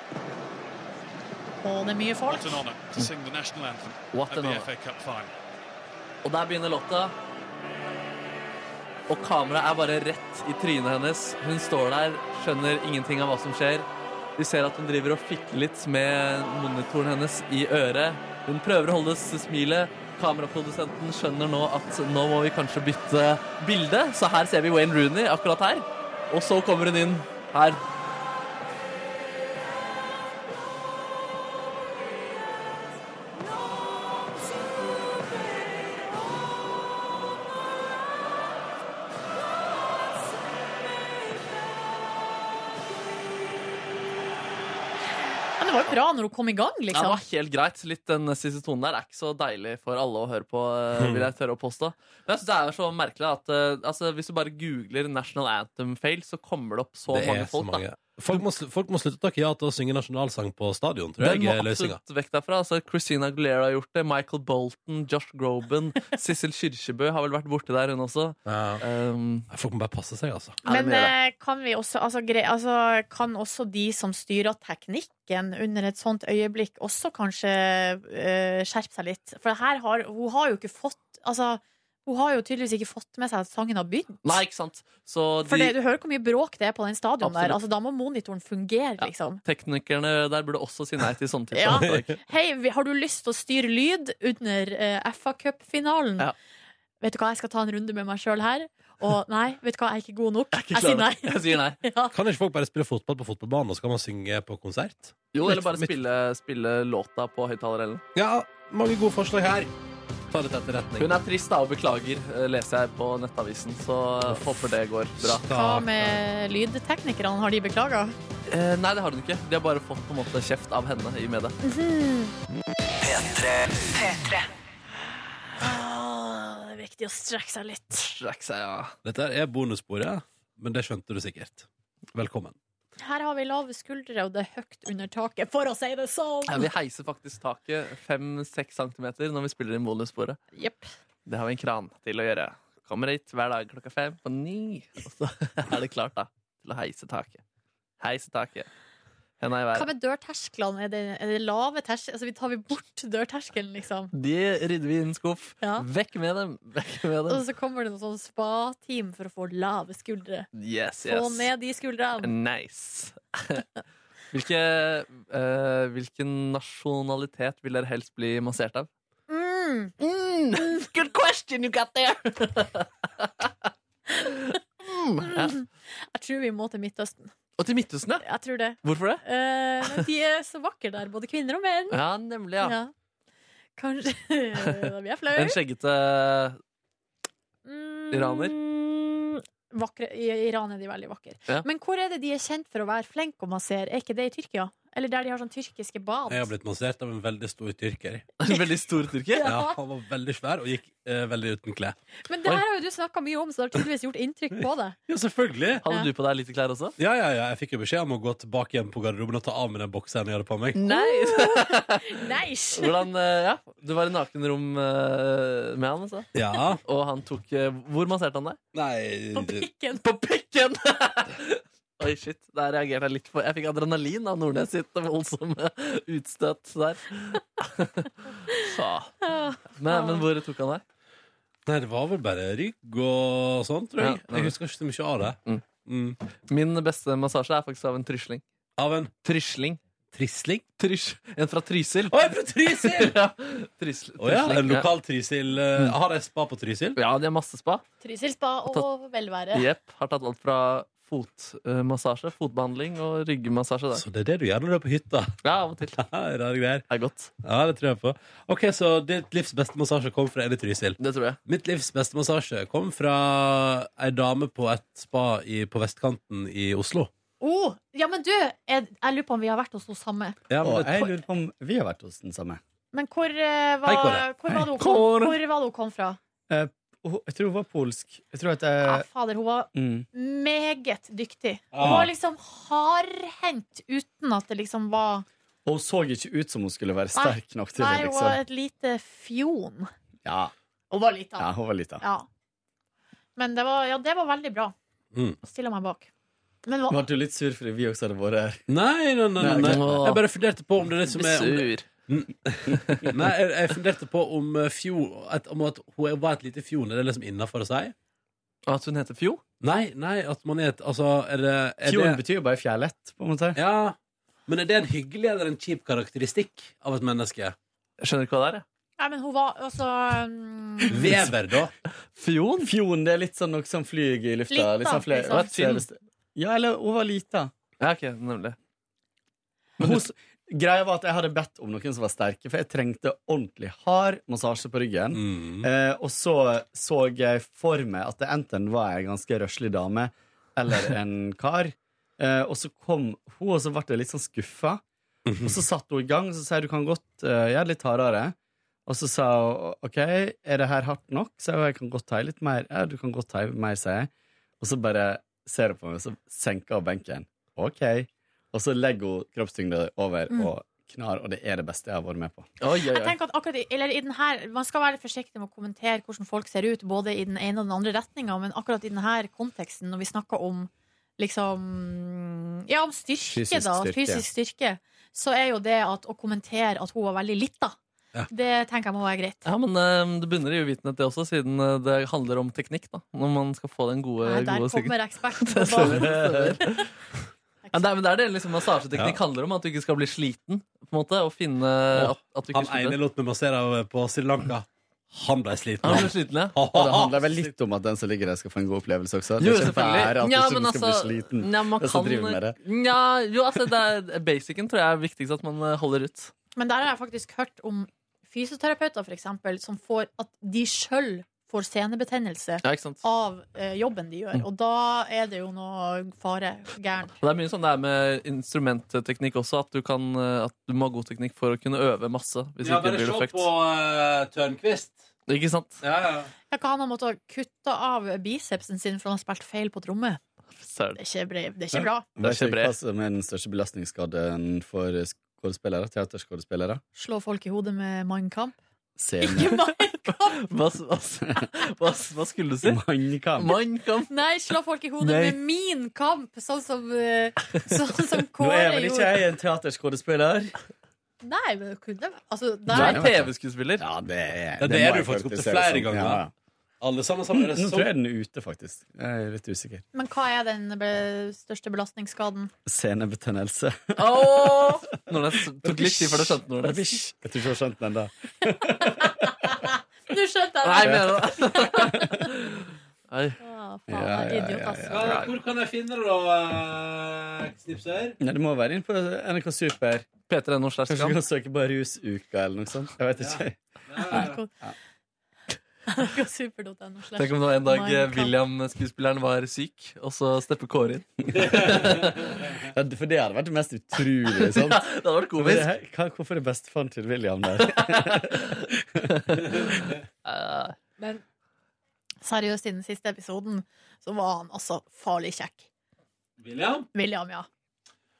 Å, det er mye folk. What an honour to sing the national anthem What at an the honour. FA Cup final. Og der begynner låta. Og kameraet er bare rett i trynet hennes. Hun står der, skjønner ingenting av hva som skjer. Vi ser at hun driver og fikler litt med monitoren hennes i øret. Hun prøver å holde s- smilet. Kameraprodusenten skjønner nå at nå må vi kanskje bytte bilde. Så her ser vi Wayne Rooney akkurat her. Og så kommer hun inn her. Men det var jo bra når hun kom i gang, Ja, det liksom. var helt greit. Litt Den siste tonen der er ikke så deilig for alle å høre på, eh, vil jeg tørre å påstå. Men jeg synes det er så merkelig at eh, altså, hvis du bare googler National Anthem fail, så kommer det opp så Det er mange så folk. mange. Folk må, sl- folk må slutte å takke ja til å synge nasjonalsang på stadion, tror Da. jeg. Den må er løsninga. absolutt vekk derfra. Altså, Christina Aguilera har gjort det. Michael Bolton, Josh Groban, Sissel Kyrkjebø har vel vært borti der, hun også. Ja. Um, Folk må bare passe seg, altså. ja, det Men må gjøre det. eh, kan vi også altså, gre altså, Kan også de som styrer teknikk musikken under et sånt øyeblikk også kanskje eh, skjerpe seg litt. For her har hun har jo ikke fått Altså, hun har jo tydeligvis ikke fått med seg at sangen har begynt. Nei, ikke sant? Så de For det, du hører hvor mye bråk det er på den stadion der. Absolutt. Altså, da må monitoren fungere, liksom. teknikerne der burde også si nei til sånne typer Ja. oppdrag. Hei, vi- har du lyst til å styre lyd under eh, FA Cup-finalen? Ja. Vet du hva, jeg skal ta en runde med meg sjøl her. Og nei, vet du hva, jeg er ikke god nok. ikke Jeg sier klar nei. nok. Jeg sier nei. Ja. Kan ikke folk bare spille fotball på fotballbanen, og så kan man synge på konsert? Jo, eller bare Mitt- mitt- spille, spille låta på høyttaler eller noe. Ja, mange gode forslag her. Ta det til etterretning. Hun er trist da, og beklager, eh, leser jeg på Nettavisen. Så eh, håper det går bra. Hva Stakkar. med lydteknikerne, har de beklaga? Eh, nei, det har hun ikke. De har bare fått på en måte kjeft av henne i media. Ah, det er viktig å strekke seg litt. Strekk seg, ja. Dette er bonussporet, men det skjønte du sikkert. Velkommen. Her har vi lave skuldre, og det er høyt under taket, for å si det sånn! Ja, vi heiser faktisk taket 5-6 cm når vi spiller inn bonussporet. Jepp. Det har vi en kran til å gjøre. Kommer hit hver dag klokka fem på ni. Og så er det klart, da, til å heise taket. Heise taket. Henda i Hva været. med dørtersklene? Er det, er det lave tersk... Altså, vi tar vi bort dørterskelen, liksom? De rydder vi i en skuff. Ja. Vekk med dem! Vekk med Og dem. så kommer det noen sånn spa-team for å få lave skuldre. Yes, Få yes. ned de skuldrene. Nice. Hvilke, eh, hvilken nasjonalitet vil dere helst bli massert av? Mm. Good question you got there! mm. ja. Jeg tror vi må til Midtøsten. Og til Midtøsten, ja. Jeg tror det. Hvorfor det? Eh, men de er så vakre der, både kvinner og menn. Ja, nemlig, ja. Ja. Kanskje Da blir jeg flau. Den skjeggete Mm, Iraner? Vakre, I Iran er de veldig vakre. Ja. Men hvor er det de er kjent for å være flinke å massere? Er ikke det i Tyrkia? Eller der de har sånn tyrkiske bad? Jeg har blitt massert av en veldig stor tyrker. En veldig stor Ja. tyrker? Ja, Han var veldig svær og gikk eh, veldig uten klær. Men det her har jo du snakka mye om, så det har tydeligvis gjort inntrykk på deg. Ja, selvfølgelig. Hadde Ja. du på deg lite klær også? Ja, ja, ja, jeg fikk jo beskjed om å gå tilbake igjen på garderoben og ta av meg den bokseren jeg hadde på meg. Nice! Hvordan, eh, ja, Du var i nakenrom eh, med han, altså. Ja, Og han tok eh, Hvor masserte han deg? nei På pikken. På pikken! Oi, shit. Der reagerte jeg litt på Jeg fikk adrenalin av Nordnes sitt voldsomme utstøt der. Så. Men, men hvor tok han deg? Nei, det var vel bare rygg og sånt, tror jeg. Ja, ja. Jeg husker ikke så mye av det. Mm. Mm. Min beste massasje er faktisk av en trysling. Av en Trysling? trisling? Trys. En fra Trysil. Å, jeg er fra Trysil! ja. Trysl, Å ja, trysling, en lokal Trysil. eh, Har de spa på Trysil? Ja, de har masse spa. Trysil spa og velvære. Jepp. Har tatt alt fra fotmassasje, fotbehandling og ryggmassasje der. Så det er det du gjør når du er på hytta? Ja, av og til. Det Rare greier. er godt. Ja, det tror jeg på. Ok, Så ditt livs beste massasje kom fra en i Trysil. Det tror jeg. Mitt livs beste massasje kom fra ei dame på et spa i, på vestkanten i Oslo. Oh, ja, men du, jeg, jeg lurer på om vi har vært hos henne samme. Ja, Og men jeg det, lurer på om vi har vært hos den samme. Men hvor, eh, var, Hei, Kåre. hvor, var det hun Hei. kom, Kåre. hvor var det hun kom fra? Og hun- Jeg tror hun var polsk. Jeg tror at jeg Ja, fader, hun var mm. meget dyktig. Hun Ah. Ja. var liksom hardhendt uten at det liksom var Og hun så ikke ut som hun skulle være Nei. sterk nok til Nei, det, hun var liksom. et lite fjon. Ja, Hun var lita. ja, Ja. hun var lita. Men det var, ja, det var veldig bra. Mm. Stiller meg bak. Men Nå hva, ble du litt sur fordi vi også hadde vært her. nei, nei, nei, nei, Nei, ok. Jeg bare funderte på om det er det som er om det, Sur. Nei, jeg, jeg funderte på om eh, fjo at, Om at hun var et lite fjon. Er det liksom innafor å si? Og At hun heter Fjo? Nei, nei, at man er et Altså, er det, er Fjorden det betyr jo bare fjærlett, på en måte. Ja. Men er det en hyggelig eller en kjip karakteristikk av et menneske? Jeg skjønner ikke hva det er. nei, men hun var altså mm, Vever, da? Fjon? Fjorden, det er litt sånn noe som flyr i lufta. Lita, litt sånn flere- liksom. litt flere- Ja, eller hun var lita. Ja, ok, nemlig. Men hun, greia var at jeg hadde bedt om noen som var sterke, for jeg trengte ordentlig hard massasje på ryggen. Mm. Eh, og så så jeg for meg at det enten var ei ganske røslig dame eller en kar. Eh, og så kom hun, og så ble jeg litt sånn skuffa. Og så satte hun i gang, og så sa jeg du kan godt eh, gjøre det litt hardere. Og så sa hun OK, er det her hardt nok? Så jeg, jeg kan godt ta i litt mer. Ja, du kan godt ta i mer, sier jeg. Og så bare ser hun på meg, og så senker hun benken. OK. Og så legger hun kroppstyngda over Mm. og knar, og det er det beste jeg har vært med på. Oi, oi, Jeg oi. tenker at akkurat i, eller i den her, Man skal være forsiktig med å kommentere hvordan folk ser ut, både i den ene og den andre retninga, men akkurat i denne konteksten, når vi snakker om liksom Ja, om styrke, Fysisk da. styrke. Fysisk styrke. så er jo det at å kommentere at hun var veldig lita, Ja. det tenker jeg må være greit. Ja, men eh, det bunner i uvitenhet, det også, siden eh, det handler om teknikk. da Når man skal få den gode, Nei, der gode kommer eksperten på Det stemmer, banen. det stemmer. Men det er, men det er det liksom massasjeteknikk handler om. At du ikke skal bli sliten. på en måte Og finne at, at du ikke Han ene sliter. lot meg massere av på Sri Lanka. Han ble sliten. Han blir sliten, ja. Og det handler vel litt om at den som ligger der, skal få en god opplevelse også. Jo, det er ikke bare at selvfølgelig. Ja, du men ikke skal altså bli sliten. ja, man Det er så kan, driver med det. ja, jo, altså, det er, basicen tror jeg er viktigst at man eh, holder ut. Men der har jeg faktisk hørt om fysioterapeuter, for eksempel, som får at de sjøl får senebetennelse Ja, ikke sant? av eh, jobben de gjør. Og da er det jo noe fare gæren. Og det er mye sånn det er med instrumentteknikk også, at du, kan, eh, at du må ha god teknikk for å kunne øve masse. Hvis Ja, ikke bare det blir se perfekt. på uh, Tørnquist. Ikke sant? Ja, ja. Jeg kan ha måttet kutte av bicepsen sin for han har spilt feil på tromme. Søren. Det er ikke, bre- det er ikke bra. Det er ikke bred. sykeplasset med den største belastningsskaden for skuespillere, teaterskuespillere. Slå folk i hodet med mannkamp. Se Ikke mannkamp! Hva, s- hva, s- hva, s- hva skulle du si? Mannkamp. Mann kan Nei, slå folk i hodet Nei. med min kamp, sånn som, eh, sånn som Nå er Kåre vel ikke gjorde. jeg en teaterskuespiller? Nei, men det kunne altså, Du nei. er TV-skuesspiller. Ja, det er Ja, det må er du jeg faktisk opp til karakterisere flere som. ganger. Ja, ja. Alle sammen sammen. Er det Nå tror så... jeg den er ute, faktisk. Jeg er litt usikker. Men hva er den be- største belastningsskaden? Senebetennelse. Åh! Når det s- tok litt tid før du skjønte noe. Jeg tror ikke jeg har skjønt den ennå. Nå skjønte Nei, jeg det! mener du det? Oi. Ah, faen, jeg Ja, er ja, idiot, altså. ja, ass. ja. Ja, Hvor kan jeg finne det, da, eh, Knipsøyer? Nei, Det må være inn på NRK Super. P3NO slash Kanskje skam. du kan søke på Rusuka eller noe sånt. Jeg vet ikke. Super.no slash Tenk om det var en dag eh, Minecraft. William-skuespilleren var syk, og så stepper Kåre inn. Ja, for det hadde vært det mest utrolige. sånn. Sant? Ja, det hadde vært Men det komisk. her- hva- Hvorfor er bestefaren til William der? Eh, Men seriøst, i den siste episoden så var han altså farlig kjekk. William? William, ja.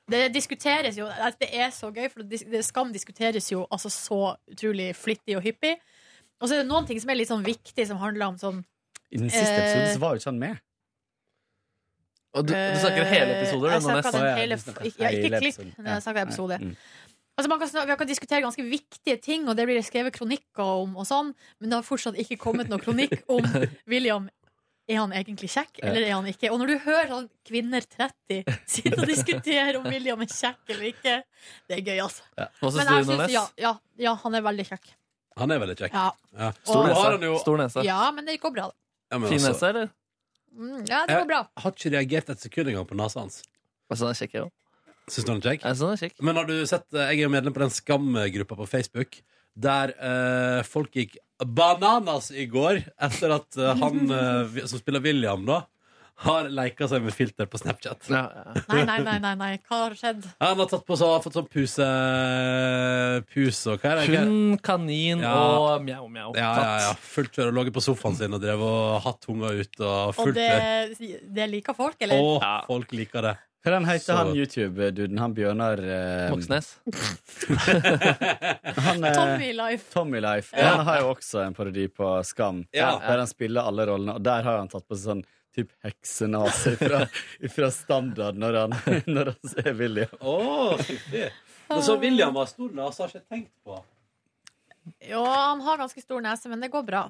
Det diskuteres jo altså, Det er så gøy, for dis- det- Skam diskuteres jo altså så utrolig flittig og hyppig. Og så er det noen ting som er litt sånn viktig, som handler om sånn I den siste episoden så var jo ikke han med. Og du, du snakker hele episoder, Eh, Jeg du, nå snakker den nesten. Å, ja, hele, du snakker ikke- ja, ikke hele klipp, episoden. men jeg snakker episode. Mm. Altså man kan, snak- vi kan diskutere ganske viktige ting, og det blir skrevet kronikker om, og sånn, men det har fortsatt ikke kommet noen kronikk om William. Er han egentlig kjekk, eller er han ikke? Og når du hører sånn kvinner 30 sitte og diskutere om William er kjekk eller ikke, det er gøy, altså. Hva Men syns jeg du, synes, Nordnes? ja, ja, ja, han er veldig kjekk. Han er veldig kjekk. Ja, Ja. Stor Og- Nå har han nese. jo- Stor nese. ja men det går bra. Ja, men Fin altså, nese, eller? Mm, Ja, det går bra. Jeg har ikke reagert et sekund engang på nesa hans. Jeg synes den er kjekk, jeg også. Syns du han er kjekk? Jeg synes den er kjekk. Men har du sett, eh, jeg er jo medlem på den skamgruppa på Facebook Der eh, folk gikk bananas i går Etter at eh, han eh, vi- som spiller William da Har leket seg med filter på Snapchat Ja, ja. Nei, nei, nei, nei, nei. hva har skjedd? Han har tatt på så, har fått sånn puse Pus og hva er det? Hva er det? Hund, kanin Ja. og mjau, mjau. Ja, ja, ja, fullt kjør og logget på sofaen sin Og drev og hatt tunga ut og Og fullt kjør det, det liker folk, eller? Åh, Ja. folk liker det Hva er den heter Så- han YouTube-duden? Han Bjørnar eh, Moxnes. Han, eh, Tommy Life. Tommy Life. Ja. Han har jo også en parodi på Skam, Ja. der han spiller alle rollene, og der har han tatt på seg sånn typ heksenase fra, fra standard når han, når han ser William. Åh, fiffig Men så William var stor nasa har jeg ikke tenkt på Jo, han har ganske stor nese, men det går bra.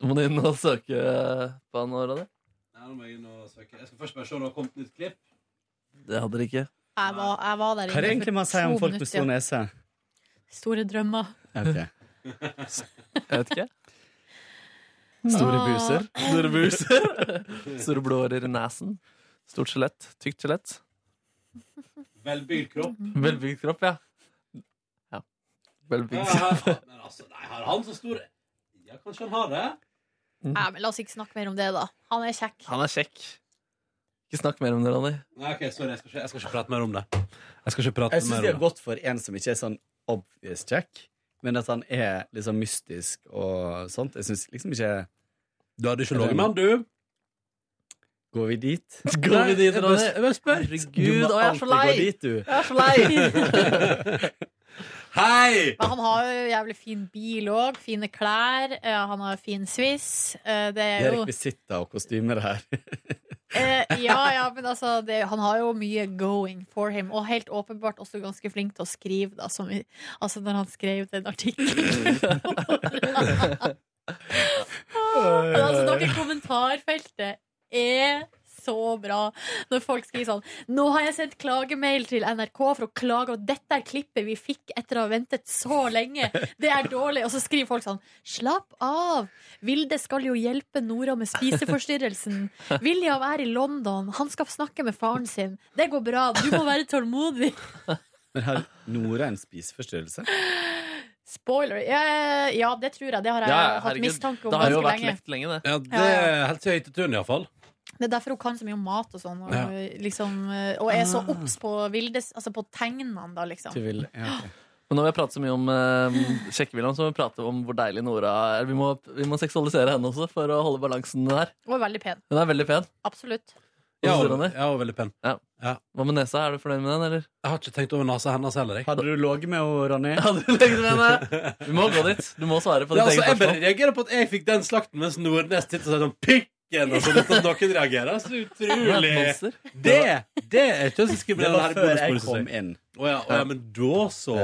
Må du inn og søke eh, på han åra di? Nei, nå må jeg inn og søke Jeg skal først bare se om det har kommet nytt klipp Det hadde dere ikke. Jeg var, jeg var der Hva er det inne egentlig man sier om folk med stor siden. nese? Store drømmer. Ok. Jeg vet ikke. Store buser. Store buser. Store blåårer i nesen. Stort skjelett. Tykt skjelett. Velbygd kropp Velbygd kropp, ja. Ja, ja. Velbygd ja, ja. Men altså, nei, har han så stor Ja, kanskje han har det? Nei, men La oss ikke snakke mer om det, da. Han er kjekk. Han er kjekk. Ikke snakk mer om det, Ronny. Nei, ok, sorry, jeg skal ikke, jeg skal ikke prate mer om det. Jeg skal ikke prate Jeg syns mer det er om det. godt for en som ikke er sånn obvious check, men at han er liksom mystisk og sånt. Jeg syns liksom ikke Du hadde ikke ligget med han, du? Går vi dit? Går vi dit, jeg Ronny? bare- jeg bare spør. Herregud, å, jeg er så lei! gå dit, du. Jeg er så lei! Hei! Men han har jo jævlig fin bil òg. Fine klær. eh, Han har fin sviss. Eh, Det Det er er jo rekvisitter og kostymer her. Eh, ja, ja, men altså det, Han har jo mye going for him, og helt åpenbart også ganske flink til å skrive, da, som, i- altså når han skrev den artikkelen. Men altså, dere kommentarfeltet er så bra når folk skriver sånn Nå har jeg sendt klagemail til NRK for å klage, og dette er klippet vi fikk etter å ha ventet så lenge. Det er dårlig. Og så skriver folk sånn Slapp av. Vilde skal jo hjelpe Nora med spiseforstyrrelsen. William er i London. Han skal snakke med faren sin. Det går bra. Du må være tålmodig. Men har Nora en spiseforstyrrelse? Spoiler. Eh, Ja, det tror jeg. Det har jeg hatt mistanke om det har jo ganske vært lenge. lekt lenge, det. Ja, det er helt til høytetun, iallfall. Det er derfor hun kan så mye om mat og sånn. Og, Ja. Ah. liksom, og er så obs på Vildes Altså på tegnene, da, liksom. Du vil, ja, ok. Men når vi har pratet så mye om eh, Tsjekkevillan, så må vi prate om hvor deilig Nora er. Vi må, vi må seksualisere henne også for å holde balansen her. Og er veldig pen. Hun er veldig pen. Absolutt. Hva Ja, synes og, du, Ronny? ja, og veldig pen. Hva med nesa? Er du fornøyd med den, eller? Jeg har ikke tenkt over nesa hennes heller. Jeg. Hadde du ligget med henne, Ronny? Ja, du legger med henne. Du må gå dit. Du må svare på Ja, ditt altså, jeg eget bare spørsmål. reagerer på at jeg fikk den slakten, mens Nordnes titter seg sånn pikken, og sånn uten at noen reagerer. Så Hun er et utrolig monster. Det, det er Det kjønnsdiskriminerende. var før jeg kom inn. Å ja, å ja, men da så.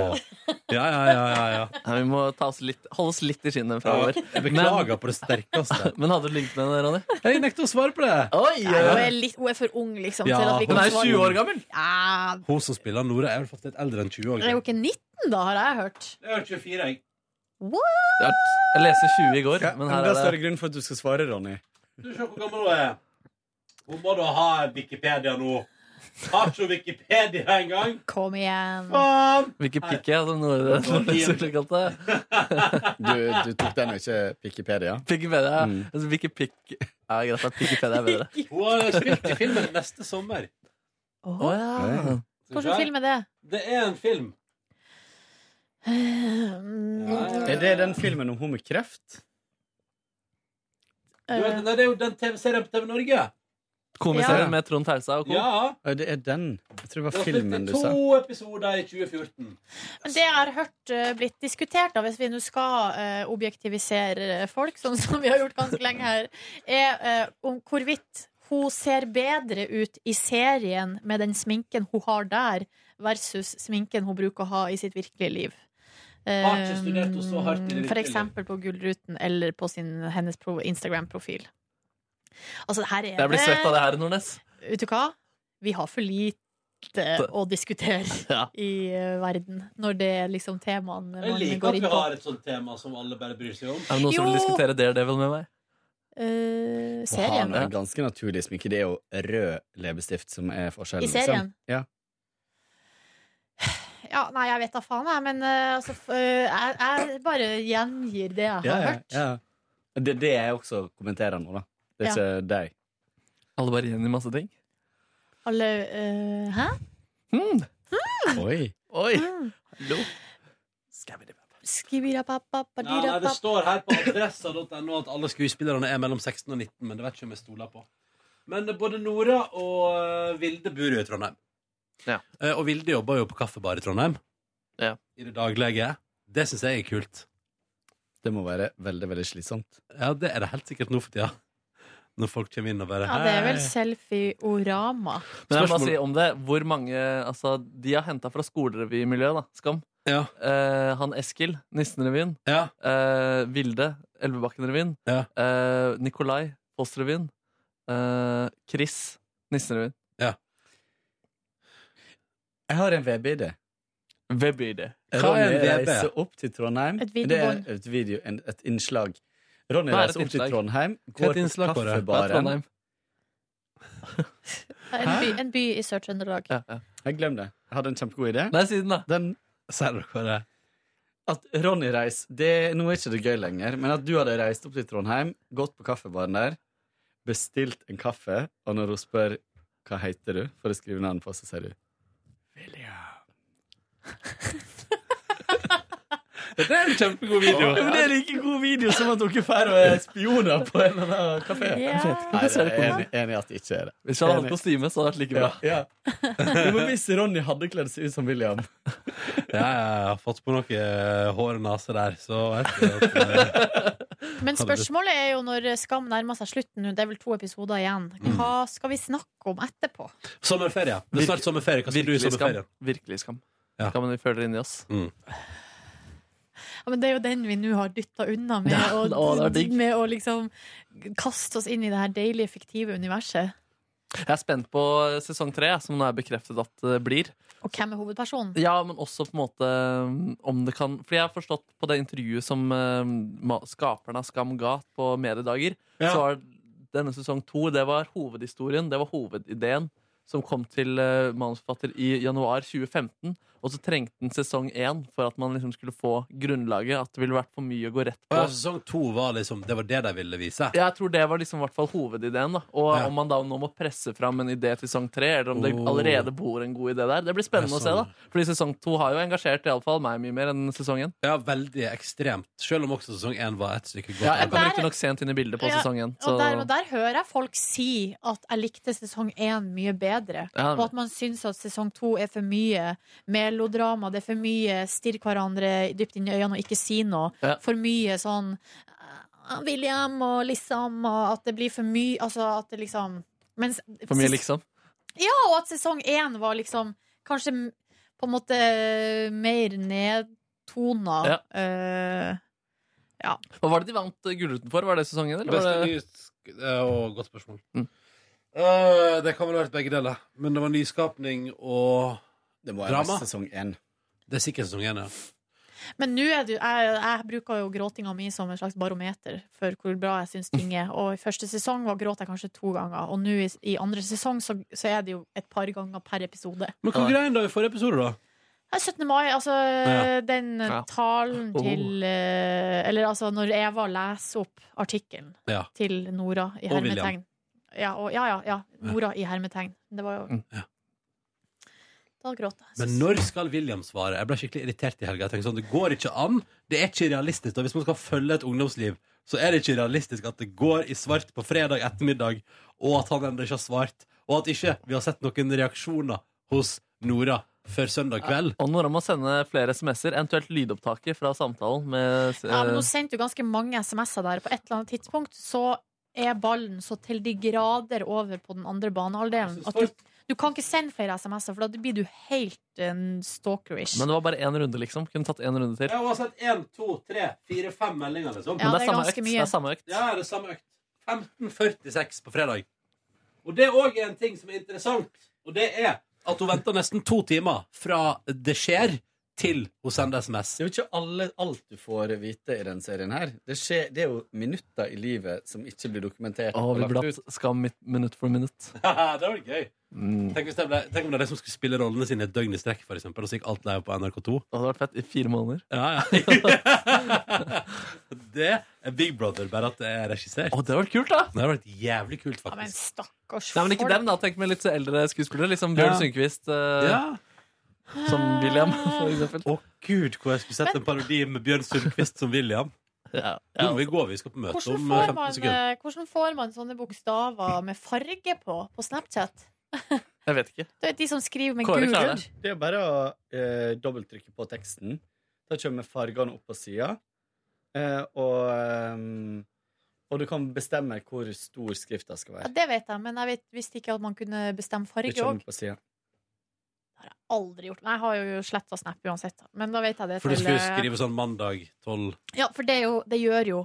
Ja, ja, ja. ja, ja. Ja, vi må ta oss litt, holde oss litt i skinnet framover. Jeg beklager på det sterkeste. Men hadde du ligget med henne, Ronny? Jeg nekter å svare på det. Oi, Nei, hun, er litt, hun er for ung, liksom. Ja, til at vi Hun kan er svare. 20 år gammel. Ja, Hun som spiller Nora, er vel faktisk litt eldre enn 20 år. hun er jo ikke 19, da, har jeg hørt. Jeg er 24, jeg. What? Ja, Jeg leste 20 i går, Ja, men men her Da er står det det grunn for at du skal svare, Ronny. Du ser hvor gammel hun er. Hun må da ha Wikipedia nå. Har ikke hun Wikipedia engang? Kom igjen. Faen! Hvilke pikke, som Nora skulle kalt det. Du, du tok den og ikke Wikipedia? Pikkepedia. Mm. Altså, hvilke pikk Ja, greit, da. Pikkepedia er bedre. Hun har spilt i filmen neste sommer. Åh, Å ja. Skal vi Hvordan se? film er det? Det er en film. Eh, Er det den filmen om hun med kreft? Du eh, vet, nei, det er jo den TV-serien på TV Norge. Komiserien med Trond Tausa og co. Ja. Ja, Det er den. Jeg tror det Det var har spilt i filmen du sa. to episoder i 2014. Men det jeg har hørt eh, blitt diskutert, da, hvis vi nå skal eh, objektivisere folk, sånn som vi har gjort ganske lenge her, er eh, om hvorvidt hun ser bedre ut i serien med den sminken hun har der, versus sminken hun bruker å ha i sitt virkelige liv. Ehm, Har ikke studert henne så hardt i det virkelige liv. For eksempel på Gullruten eller på sin, hennes pro- Instagram-profil. Altså, her er Jeg blir svett av det her, Nordnes. Vet du hva? Vi har for lite å diskutere Ja. i eh, verden når det er liksom temaene Jeg man liker går at inn vi på. har et sånt tema som alle bare bryr seg om. Er det noen som vil Jo. diskutere Daredevil med meg? Eh, Å ha serien. noe ganske naturlig sminke. Det er jo rød leppestift som er forskjellen. I serien? liksom. Ja. Ja, nei, jeg vet da faen, jeg, men eh, altså, f- eh, jeg, jeg bare gjengir det jeg har Ja, ja, hørt. ja. Det er det jeg også kommenterer nå, da. Det er ikke deg. Alle bare igjen i masse ting? Alle eh, Hæ? Hmm. Oi. Oi! Mm. Hallo. Nei, nei, det Skibirapapapadirapap. står her på adressa.no at alle skuespillerne er mellom 16 og 19, men det vet ikke om jeg stoler på. Men både Nora og eh, Vilde bor jo i Trondheim. Ja. Eh, Og Vilde jobber jo på kaffebar i Trondheim. Ja. I det daglige. Det syns jeg er kult. Det må være veldig, veldig slitsomt. Ja, det er det helt sikkert nå for tida. Når folk kommer inn og bare Ja, det er vel «Hei». selfie-orama. Men jeg må Spørsmål. si om det Hvor mange altså, De har henta fra skolerevymiljøet, da. Skam. Ja. Eh, han Eskil, Nissen-revyen. ja. Eh, Vilde, Elvebakken-revyen. Ja. Eh, Nikolai, Post-revyen. Eh, Chris, Nissen-revyen. Jeg har en VB-idé. Hvem blir det? Hva Ronny er en VB? reiser opp til Trondheim. Et det er videobånd. et, video, en, et innslag. Ronny Hva er reiser et opp til innslag? Trondheim, er et går på innslag, Kåre? Hva er kaffebaren Trondheim? En by, en by i Sør-Trøndelag. Ja, ja. Jeg glem det. Jeg hadde en kjempegod idé. Nei, si den, da. Den, Ser dere det? at Ronny reiser det, Nå er ikke det gøy lenger, men at du hadde reist opp til Trondheim, gått på kaffebaren der, bestilt en kaffe, og når hun spør hva heter du, for å skrive navnet på, så sier du William. Det er en kjempegod video. Ja, men det er like god video som at dere drar og er spioner på en eller annen kafé. Ja. Nei, Hvorfor ser du jeg er på den? enig, enig i at det ikke er det. Hvis jeg hadde hatt kostyme, så hadde det vært like bra. Ja, ja. Det var hvis Ronny hadde kledd seg ut som William. Ja, jeg har fått på noe eh, hår og nese der, så vet du at eh, Men spørsmålet er jo når Skam nærmer seg slutten, nå, det er vel to episoder igjen, Mm. hva skal vi snakke om etterpå? Sommerferie. Det er snart sommerferie. Hva skal du i Virkelig skam. sommerferien? Virkelig skam. Ja. Skammen vi føler inni oss. Ja, men det er jo den vi nå har dytta unna med, Ja, å- å, det var digg. med å liksom kaste oss inn i det her deilige, fiktive universet. Jeg er spent på sesong tre, som nå er bekreftet at det blir. Og hvem er hovedpersonen? Ja, men også på en måte um, om det kan Fordi jeg har forstått på det intervjuet som um, ma- skaperen av Skam ga på Mediedager, Ja. så var denne sesong to Det var hovedhistorien, det var hovedideen, som kom til uh, manusforfatter i januar 2015. Og så trengte den sesong én for at man liksom skulle få grunnlaget. At det ville vært for mye å gå rett Og på. ja, sesong to var liksom Det var det de ville vise. Jeg tror det var liksom i hvert fall hovedideen. da Og Ja. Om man da nå må presse fram en idé til sesong tre, eller om det Oh. allerede bor en god idé der. Det blir spennende Det er å se. sånn. da Fordi sesong to har jo engasjert i alle fall meg mye mer enn sesong én. Ja, veldig ekstremt. Selv om også sesong én var et stykke godt. Ja, jeg Men kom der- riktignok sent inn i bildet på Ja, sesong én. Så Og der, og der hører jeg folk si at jeg likte sesong én mye bedre. Ja. Og at man syns at sesong to er for mye melodrama, det er for mye stirr hverandre dypt inn i øynene og ikke si noe. Ja. For mye sånn eh, William og liksom og At det blir for mye Altså at det liksom mens, for mye, liksom. Ja, og at sesong én var liksom kanskje m- på en måte eh, mer nedtona. Ja. Eh, Hva var det de vant eh, Gullruten for? Var det sesong én, eller? Beste Var det... nysk- eh, Å, godt spørsmål. Mm. Eh, det kan vel ha vært begge deler. Men det var nyskapning og Det må jo Drama. være sesong én. Det er sikkert sesong én, ja. Men nå er det, jo- jeg, jeg bruker jo gråtinga mi som en slags barometer for hvor bra jeg syns ting er. Og i første sesong var gråt jeg kanskje to ganger, og nå i, i andre sesong så, så er det jo et par ganger per episode. Men hva grein da i forrige episode, da? Det er 17. mai, altså Ja. den Ja. talen Oh. til eh, Eller altså når Eva leser opp artikkelen Ja. til Nora i Og William. hermetegn. Ja, og, ja, ja, ja. Nora i hermetegn. Det var jo Mm. Ja. Da gråt jeg. Men når skal William svare? Jeg ble skikkelig irritert i helga. Jeg tenkte sånn, Det går ikke an. Det er ikke realistisk. Og hvis man skal følge et ungdomsliv, så er det ikke realistisk at det går i svart på fredag ettermiddag, og at han ennå ikke har svart, og at ikke vi har sett noen reaksjoner hos Nora før søndag kveld. Og Nora må sende flere SMS-er, eventuelt lydopptaket fra samtalen med eh, Ja, men hun sendte jo ganske mange SMS-er der. På et eller annet tidspunkt så er ballen så til de grader over på den andre banehalvdelen at du, du kan ikke sende flere SMS-er, for da blir du helt en stalkerish. Men det var bare én runde, liksom. Kunne tatt én runde til. Jeg har sett én, to, tre, fire, fem meldinger, liksom. Ja, men det det er, er samme ganske økt. mye. det er samme økt. Ja, det er samme økt. 15.46 på fredag. Og det òg er en ting som er interessant, og det er at hun venter nesten to timer fra det skjer, til hun sender SMS. Det er jo ikke alle, alt du får vite i den serien her. Det, skjer, det er jo minutter i livet som ikke blir dokumentert. Å, og vi lagt burde ut. hatt Skam mitt- minutt for minutt. det var gøy. Mm. Tenk, hvis det ble, tenk om det er de som skulle spille rollene sine et døgn i strekk, for eksempel, og så gikk alt live på NRK2. Det hadde vært fett i fire måneder. Ja, ja. det er Big Brother, bare at det er regissert. Å, det hadde vært kult, da! Det har vært jævlig kult, Ja, men faktisk. stakkars Nei, men ikke dem, da. Tenk med litt eldre skuespillere. Liksom Bjørn Ja. Sundquist eh, Ja. som William, for eksempel. Å gud, hvor jeg skulle sett en parodi med Bjørn Sundquist som William. Ja. Nå må vi gå, vi skal på møte Hvordan om eh, får, 15 man, sekunder. eh, hvordan får man sånne bokstaver med farge på på Snapchat? Jeg vet ikke. Det er de som skriver med Kåre gul klarer ull. det. Det er bare å eh, dobbelttrykke på teksten. Da kommer fargene opp på sida. Eh, og, ehm, og du kan bestemme hvor stor skrifta skal Ja, være. det vet jeg, men jeg vet, visste ikke at man kunne bestemme Det farge òg. kommer på siden. Det har jeg aldri gjort. Men jeg har jo sletta Snap uansett, da. men da vet jeg det. For du skulle eh, skrive sånn mandag 12 Ja, for det, er jo, det gjør jo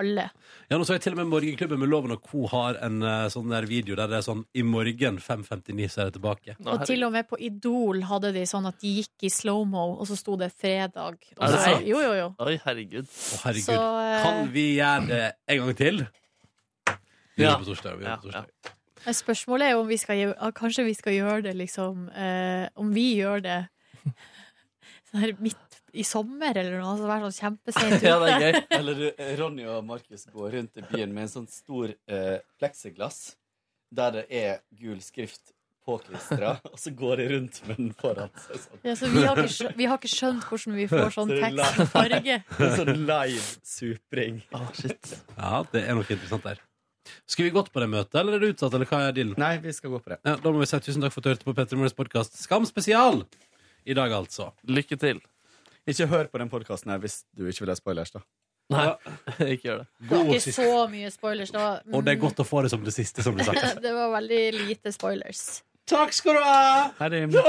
alle. Ja, nå så jeg til og med Morgenklubben med Loven og Co. har en eh, sånn der video der det er sånn I morgen 5.59 så er jeg tilbake. Nå, Og til herregud. og med på Idol hadde de sånn at de gikk i slow-mo, og så sto det fredag. Og Er det så- sant? Jo, jo, jo. Oi, herregud. Å, herregud. Så, eh, Kan vi gjøre det en gang til? Vi gjør Ja. det på torsdag. Vi gjør det på Ja, torsdag. Men spørsmålet er jo om vi skal gjøre ah, Kanskje vi skal gjøre det liksom eh, Om vi gjør det sånn her midt i sommer eller noe, altså være sånn kjempeseint Ja, det ute. er gøy. Eller du, eh, Ronny og Markus går rundt i byen med en sånn stor eh, pleksiglass der det er gul skrift påklistra, og så går de rundt med den foran seg. Sånn. Ja, så vi har, ikke skjønt, vi har ikke skjønt hvordan vi får sånn Så det er tekst og farge. En sånn live supring. Å, shit. Ja, det er noe interessant der. Skulle vi gått på det møtet, eller er det utsatt, eller hva er dealen? Nei, vi skal gå på det. Ja, da må vi si tusen takk for at du hørte på Petter Morgens podkast Skam spesial! I dag, altså. Lykke til. Ikke hør på den podkasten her hvis du ikke vil ha spoilers, da. Nei, Ikke gjør det. god Ikke siste. så mye spoilers, da. Mm. Og det er godt å få det som det siste, som ble sagt. det var veldig lite spoilers. Takk skal du ha! Her er